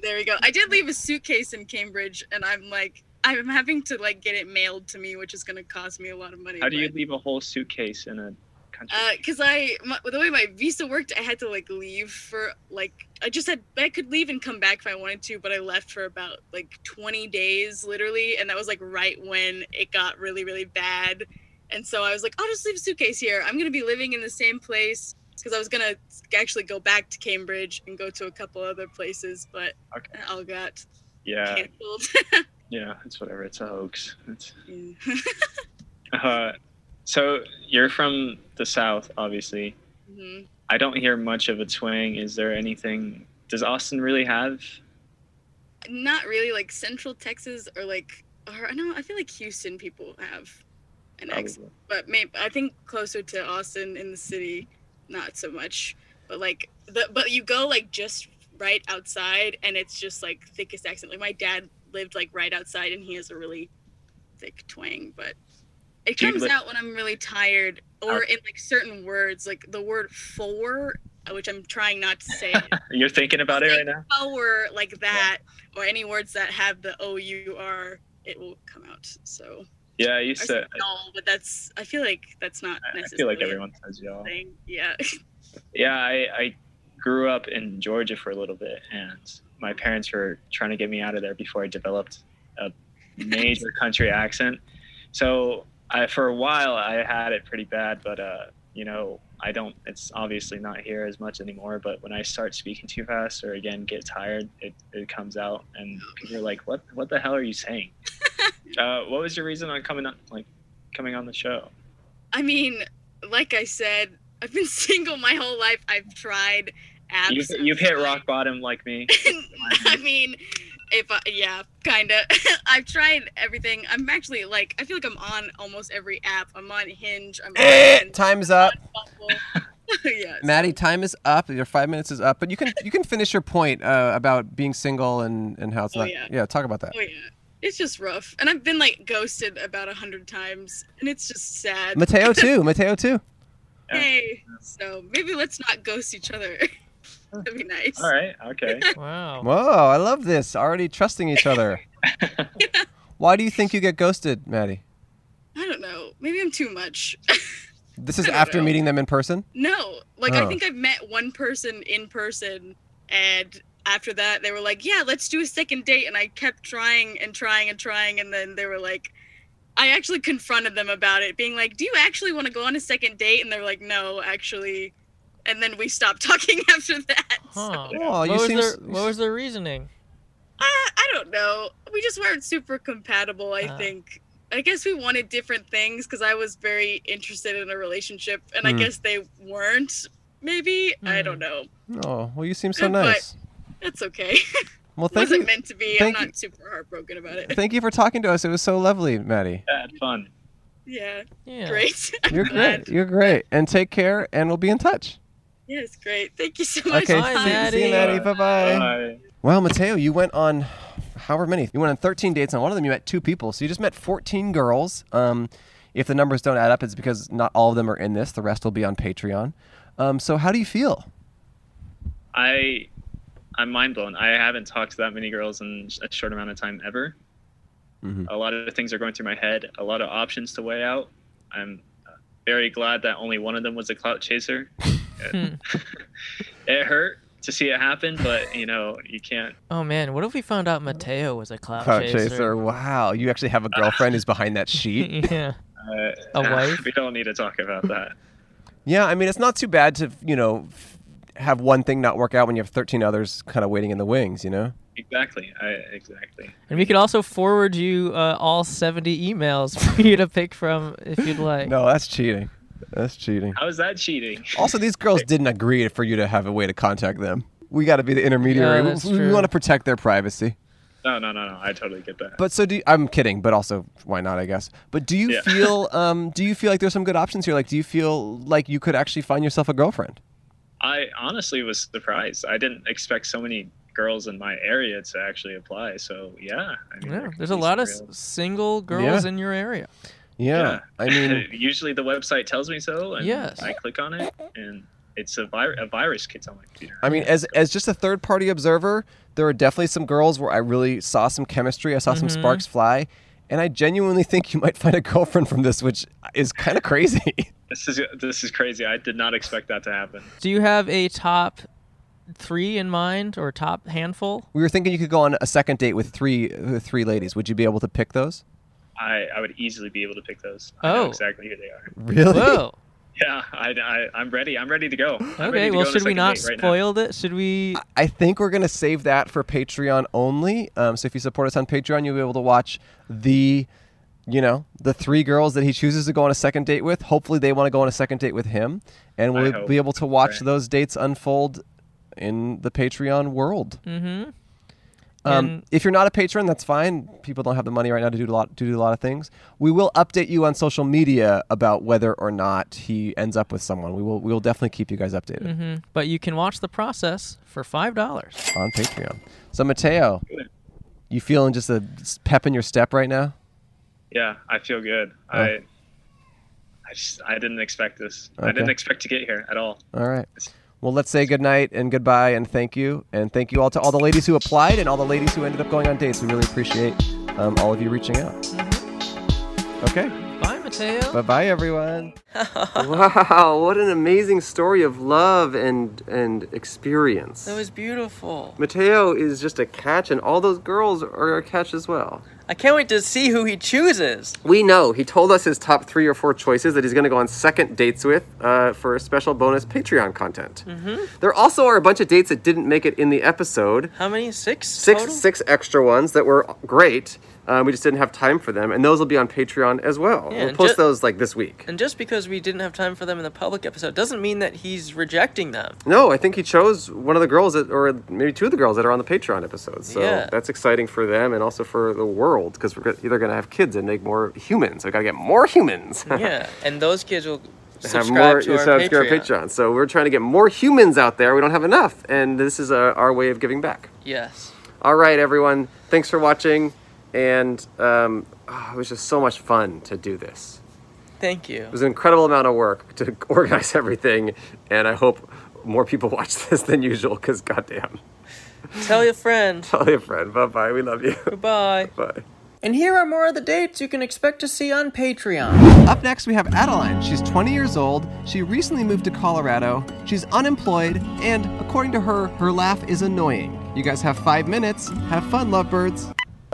S14: There we go. I did leave a suitcase in Cambridge, and I'm like, I'm having to like get it mailed to me, which is gonna cost me a lot of money.
S4: How do you leave a whole suitcase in a country?
S14: Because I, my, the way my visa worked, I had to like leave for like I just had I could leave and come back if I wanted to, but I left for about like 20 days literally, and that was like right when it got really really bad, And so I was like, I'll just leave a suitcase here. I'm going to be living in the same place because I was going to actually go back to Cambridge and go to a couple other places, but it all got
S4: Yeah.
S14: canceled.
S4: (laughs) Yeah, it's whatever. It's a hoax. It's,
S14: Yeah.
S4: uh, so you're from the South, obviously.
S14: Mhm.
S4: I don't hear much of a twang. Is there anything? Does Austin really have?
S14: Not really like Central Texas or like, or I know, I feel like Houston people have an accent, but maybe I think closer to Austin in the city, not so much. But like, the, but you go like just right outside and it's just like thickest accent. Like my dad lived like right outside and he has a really thick twang, but it
S4: Do you
S14: comes
S4: li-
S14: out when I'm really tired or in like certain words, like the word for, uh, which I'm trying not to
S4: (laughs)
S14: say.
S4: You're thinking about it right now.
S14: Or like that, or any words that have the O U R, it will come out. So
S4: Yeah, I used
S14: or
S4: to.
S14: y'all, but that's I feel like that's not
S4: I feel
S14: necessarily.
S4: like everyone says y'all.
S14: a thing. Yeah. (laughs)
S4: Yeah, I, I grew up in Georgia for a little bit, and my parents were trying to get me out of there before I developed a major country accent. So I, for a while, I had it pretty bad, but uh, you know, I don't. It's obviously not here as much anymore. But when I start speaking too fast, or again get tired, it, it comes out, and people are like, "What? What the hell are you saying?" uh, what was your reason on coming on, like, coming on the show?
S14: I mean, like I said, I've been (laughs) single my whole life. I've tried apps.
S4: You've,
S14: (laughs)
S4: you've hit rock bottom like me.
S14: I mean, if I, yeah, kind of. (laughs) I've tried everything. I'm actually like I feel like I'm on almost every app. I'm on Hinge. I'm
S4: (laughs)
S2: Eh,
S14: on (laughs)
S2: time's up.
S14: yeah.
S2: Maddie, time is up. Your five minutes is up, but you can you can finish your point uh, about being single and, and how it's
S14: Oh,
S2: not.
S14: yeah.
S2: talk about that.
S14: Oh yeah. It's just rough, and I've been like ghosted about a hundred times, and it's just sad.
S2: Mateo
S14: (laughs)
S2: too. Mateo too.
S14: Hey, so maybe let's not ghost each other. (laughs) That'd be nice.
S4: All right.
S14: (laughs)
S4: Okay.
S1: wow.
S2: Whoa, I love this. Already trusting each
S14: (laughs)
S2: other. Why do you think you get ghosted, Maddie?
S14: I don't know. Maybe I'm too much.
S2: This is after meeting them in person.
S14: no, like I
S2: Oh.
S14: think I've met one person in person, and after that they were like, "Yeah, let's do a second date," and I kept trying and trying and trying, and then they were like, I actually confronted them about it, being like, "Do you actually want to go on a second date?" And they're like, "No, actually," and then we stopped (laughs) talking after that.
S1: Huh.
S14: So-
S2: Well, you
S1: what, was
S2: seem
S1: their,
S2: s-
S1: what was their reasoning?
S14: I, I don't know. We just weren't super compatible, I
S1: Ah.
S14: think. I guess we wanted different things because I was very interested in a relationship, and I
S2: Hmm.
S14: guess they weren't. Maybe I don't know.
S2: Oh, well, you seem so
S14: (laughs) But
S2: nice.
S14: That's okay.
S2: Well, thank
S14: wasn't
S2: you-
S14: meant to be. I'm
S2: thank
S14: not
S2: you-
S14: super heartbroken about it.
S2: Thank you for talking to us. It was so lovely, Maddie.
S4: I had fun.
S14: (laughs) Yeah.
S1: Yeah.
S14: Great. (laughs)
S2: You're great. You're great. And take care, and we'll be in touch.
S14: Yes, great. Thank you so much.
S2: Okay, see, see you, Maddie. Bye bye.
S4: Bye.
S2: Well, Mateo, you went on however many. You went on 13 dates. On one of them, you met two people. So you just met 14 girls. Um, if the numbers don't add up, it's because not all of them are in this. The rest will be on Patreon. Um, so how do you feel?
S4: I I'm mind blown. I haven't talked to that many girls in a short amount of time ever.
S2: Mhm.
S4: A lot of things are going through my head. A lot of options to weigh out. I'm uh, very glad that only one of them was a clout chaser. it, (laughs) it hurt to see it happen, but you know you can't.
S1: Oh man, what if we found out Mateo was a cloud,
S2: Clout chaser. Wow, you actually have a girlfriend who's behind that sheet.
S1: (laughs) yeah.
S4: Uh, (laughs)
S1: A wife?
S4: We don't need to talk about that.
S2: Yeah, I mean, it's not too bad to you know f- have one thing not work out when you have 13 others kind of waiting in the wings. You know.
S4: Exactly. I, exactly.
S1: And we could also forward you uh, all 70 emails (laughs) for you to pick from if you'd like.
S2: No, that's cheating. That's cheating.
S4: How is that cheating?
S2: Also, these girls didn't agree for you to have a way to contact them. We got to be the intermediary.
S1: Yeah,
S2: We-
S1: that's
S2: we
S1: true.
S2: want to protect their privacy.
S4: No, no, no, no. I totally get that.
S2: But so do you, I'm kidding, but also why not? I guess. But do you
S4: Yeah.
S2: feel? Um, do you feel like there's some good options here? Like, do you feel like you could actually find yourself a girlfriend?
S4: I honestly was surprised. I didn't expect so many girls in my area to actually apply. So yeah, I mean,
S1: Yeah, there's a lot of s- single girls in your area.
S2: Yeah, I
S4: (laughs)
S2: mean,
S4: usually the website tells me so, and
S1: Yes.
S4: I click on it, and it's a, vir- a virus kits on my computer.
S2: I mean, as as just a third party observer, there are definitely some girls where I really saw some chemistry. I saw some
S4: Mhm.
S1: Mm-hmm.
S2: sparks fly, and I genuinely think you might (laughs) find a girlfriend from this, which is kind of crazy. (laughs)
S4: This is this is crazy. I did not expect that to happen.
S1: Do you have a top three in mind or top handful?
S2: We were thinking you could go on a second date with three uh, three ladies. Would you be able to pick those?
S4: I, I would easily be able to pick those. I
S1: Oh.
S4: know exactly who they are.
S2: Really?
S1: Whoa.
S4: Yeah, I, I, I'm ready. I'm ready to go. I'm ready to
S1: Okay. Well,
S4: go on a
S1: should we
S4: second
S1: not
S4: date right now.
S1: spoil it? Should we?
S2: I think we're gonna save that for Patreon only. Um, so if you support us on Patreon, you'll be able to watch the, you know, the three girls that he chooses to go on a second date with. Hopefully, they want to go on a second date with him, and
S1: I
S2: we'll
S1: hope.
S2: be able to watch
S1: Right.
S2: those dates unfold in the Patreon world.
S1: Mm-hmm.
S2: Um,
S1: And-
S2: if you're not a patron, that's fine. People don't have the money right now to do a lot to do a lot of things. We will update you on social media about whether or not he ends up with someone. We will we will definitely keep you guys updated
S1: Mm-hmm. But you can watch the process for five dollars.
S2: on Patreon. So Mateo, you feeling just a pep in your step right now?
S4: Yeah, I feel good.
S2: Oh.
S4: I I just I didn't expect this. I
S2: Okay.
S4: didn't expect to get here at all.
S2: All right. Well, let's say goodnight and goodbye and thank you. And thank you all to all the ladies who applied and all the ladies who ended up going on dates. We really appreciate um, all of you reaching out. Okay.
S1: Bye, Mateo.
S2: Bye bye, everyone.
S15: wow, what an amazing story of love and and experience.
S13: That was beautiful.
S15: Mateo is just a catch, and all those girls are a catch as well.
S13: I can't wait to see who he chooses.
S15: We know he told us his top three or four choices that he's going to go on second dates with uh, for special bonus Patreon content.
S13: Mm-hmm.
S15: There also are a bunch of dates that didn't make it in the episode.
S13: How many? Six?
S15: Six,
S13: total?
S15: six extra ones that were great. Uh, we just didn't have time for them, and those will be on Patreon as well.
S13: Yeah,
S15: we'll
S13: and
S15: post
S13: ju-
S15: those like this week.
S13: And just because we didn't have time for them in the public episode doesn't mean that he's rejecting
S2: (laughs)
S13: them.
S15: No, I think he chose one of the girls that, or maybe two of the girls that are on the Patreon episode. So
S13: Yeah.
S15: that's exciting for them and also for the world because we're go- either going to have kids and make more humans. We got to get more humans.
S13: yeah, and those kids will subscribe
S15: have more
S13: to our
S15: subscribe to our
S13: Patreon.
S15: Patreon. So we're trying to get more humans out there. We don't have enough, and this is uh, our way of giving back.
S13: Yes.
S15: All right, everyone. Thanks for watching, and um, ah, it was just so much fun to do this.
S13: Thank you.
S15: It was an incredible amount of work to (laughs) organize everything, and I hope more people (laughs) watch this than usual because goddamn.
S13: Tell your friend.
S15: Tell your friend. Bye bye. We love you.
S13: Mm. Goodbye.
S15: Bye.
S13: And here are more of the dates you can expect to see on Patreon.
S2: Up next, we have Adeline. She's 20 years old. She recently moved to Colorado. She's unemployed, and according to her, her laugh is annoying. You guys have five minutes. Have fun, lovebirds.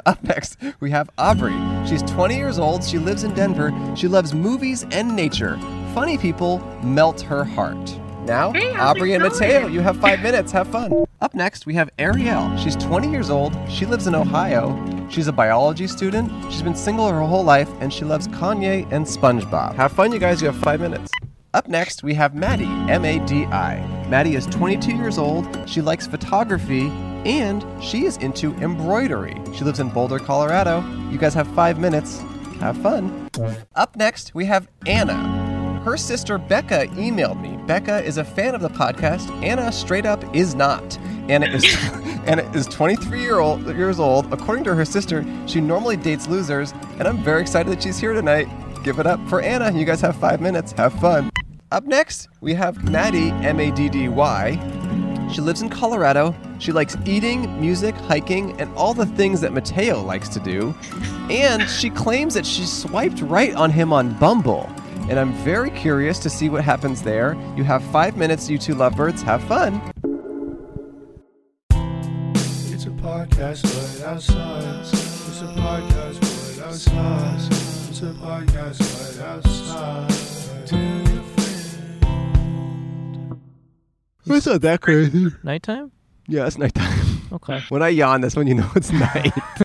S2: Up next, we have Aubrey. She's 20 years old. She lives in Denver. She loves movies and nature. Funny people melt her heart. Now,
S3: Hey, how's
S2: Aubrey
S3: it
S2: and
S3: going?
S2: Mateo, you have five minutes. Have fun. Up next, we have Ariel. She's 20 years old. She lives in Ohio. She's a biology student. She's been single her whole life, and she loves Kanye and SpongeBob. Have fun, you guys. You have five minutes. Up next, we have Maddie, M A D I. Maddie is 22 years old. She likes photography, and she is into embroidery. She lives in Boulder, Colorado. You guys have five minutes. Have fun. Up next, we have Anna. Her sister Becca emailed me. Becca is a fan of the podcast. Anna straight up is not. Anna is (laughs) Anna is 23 year old years old. According to her sister, she normally dates losers, and I'm very excited that she's here tonight. Give it up for Anna. You guys have five minutes. Have fun. Up next, we have Maddie, M A D D Y. She lives in Colorado. She likes eating, music, hiking, and all the things that Mateo likes to do. And she claims that she swiped right on him on Bumble. And I'm very curious to see what happens there. You have five minutes, you two lovebirds. Have fun.
S3: It's a podcast right outside. It's a podcast right outside. It's a podcast right outside. Tell your
S2: It's not that crazy.
S1: Nighttime?
S2: Yeah, it's nighttime.
S1: Okay.
S2: When I yawn, that's when you know it's (laughs) night.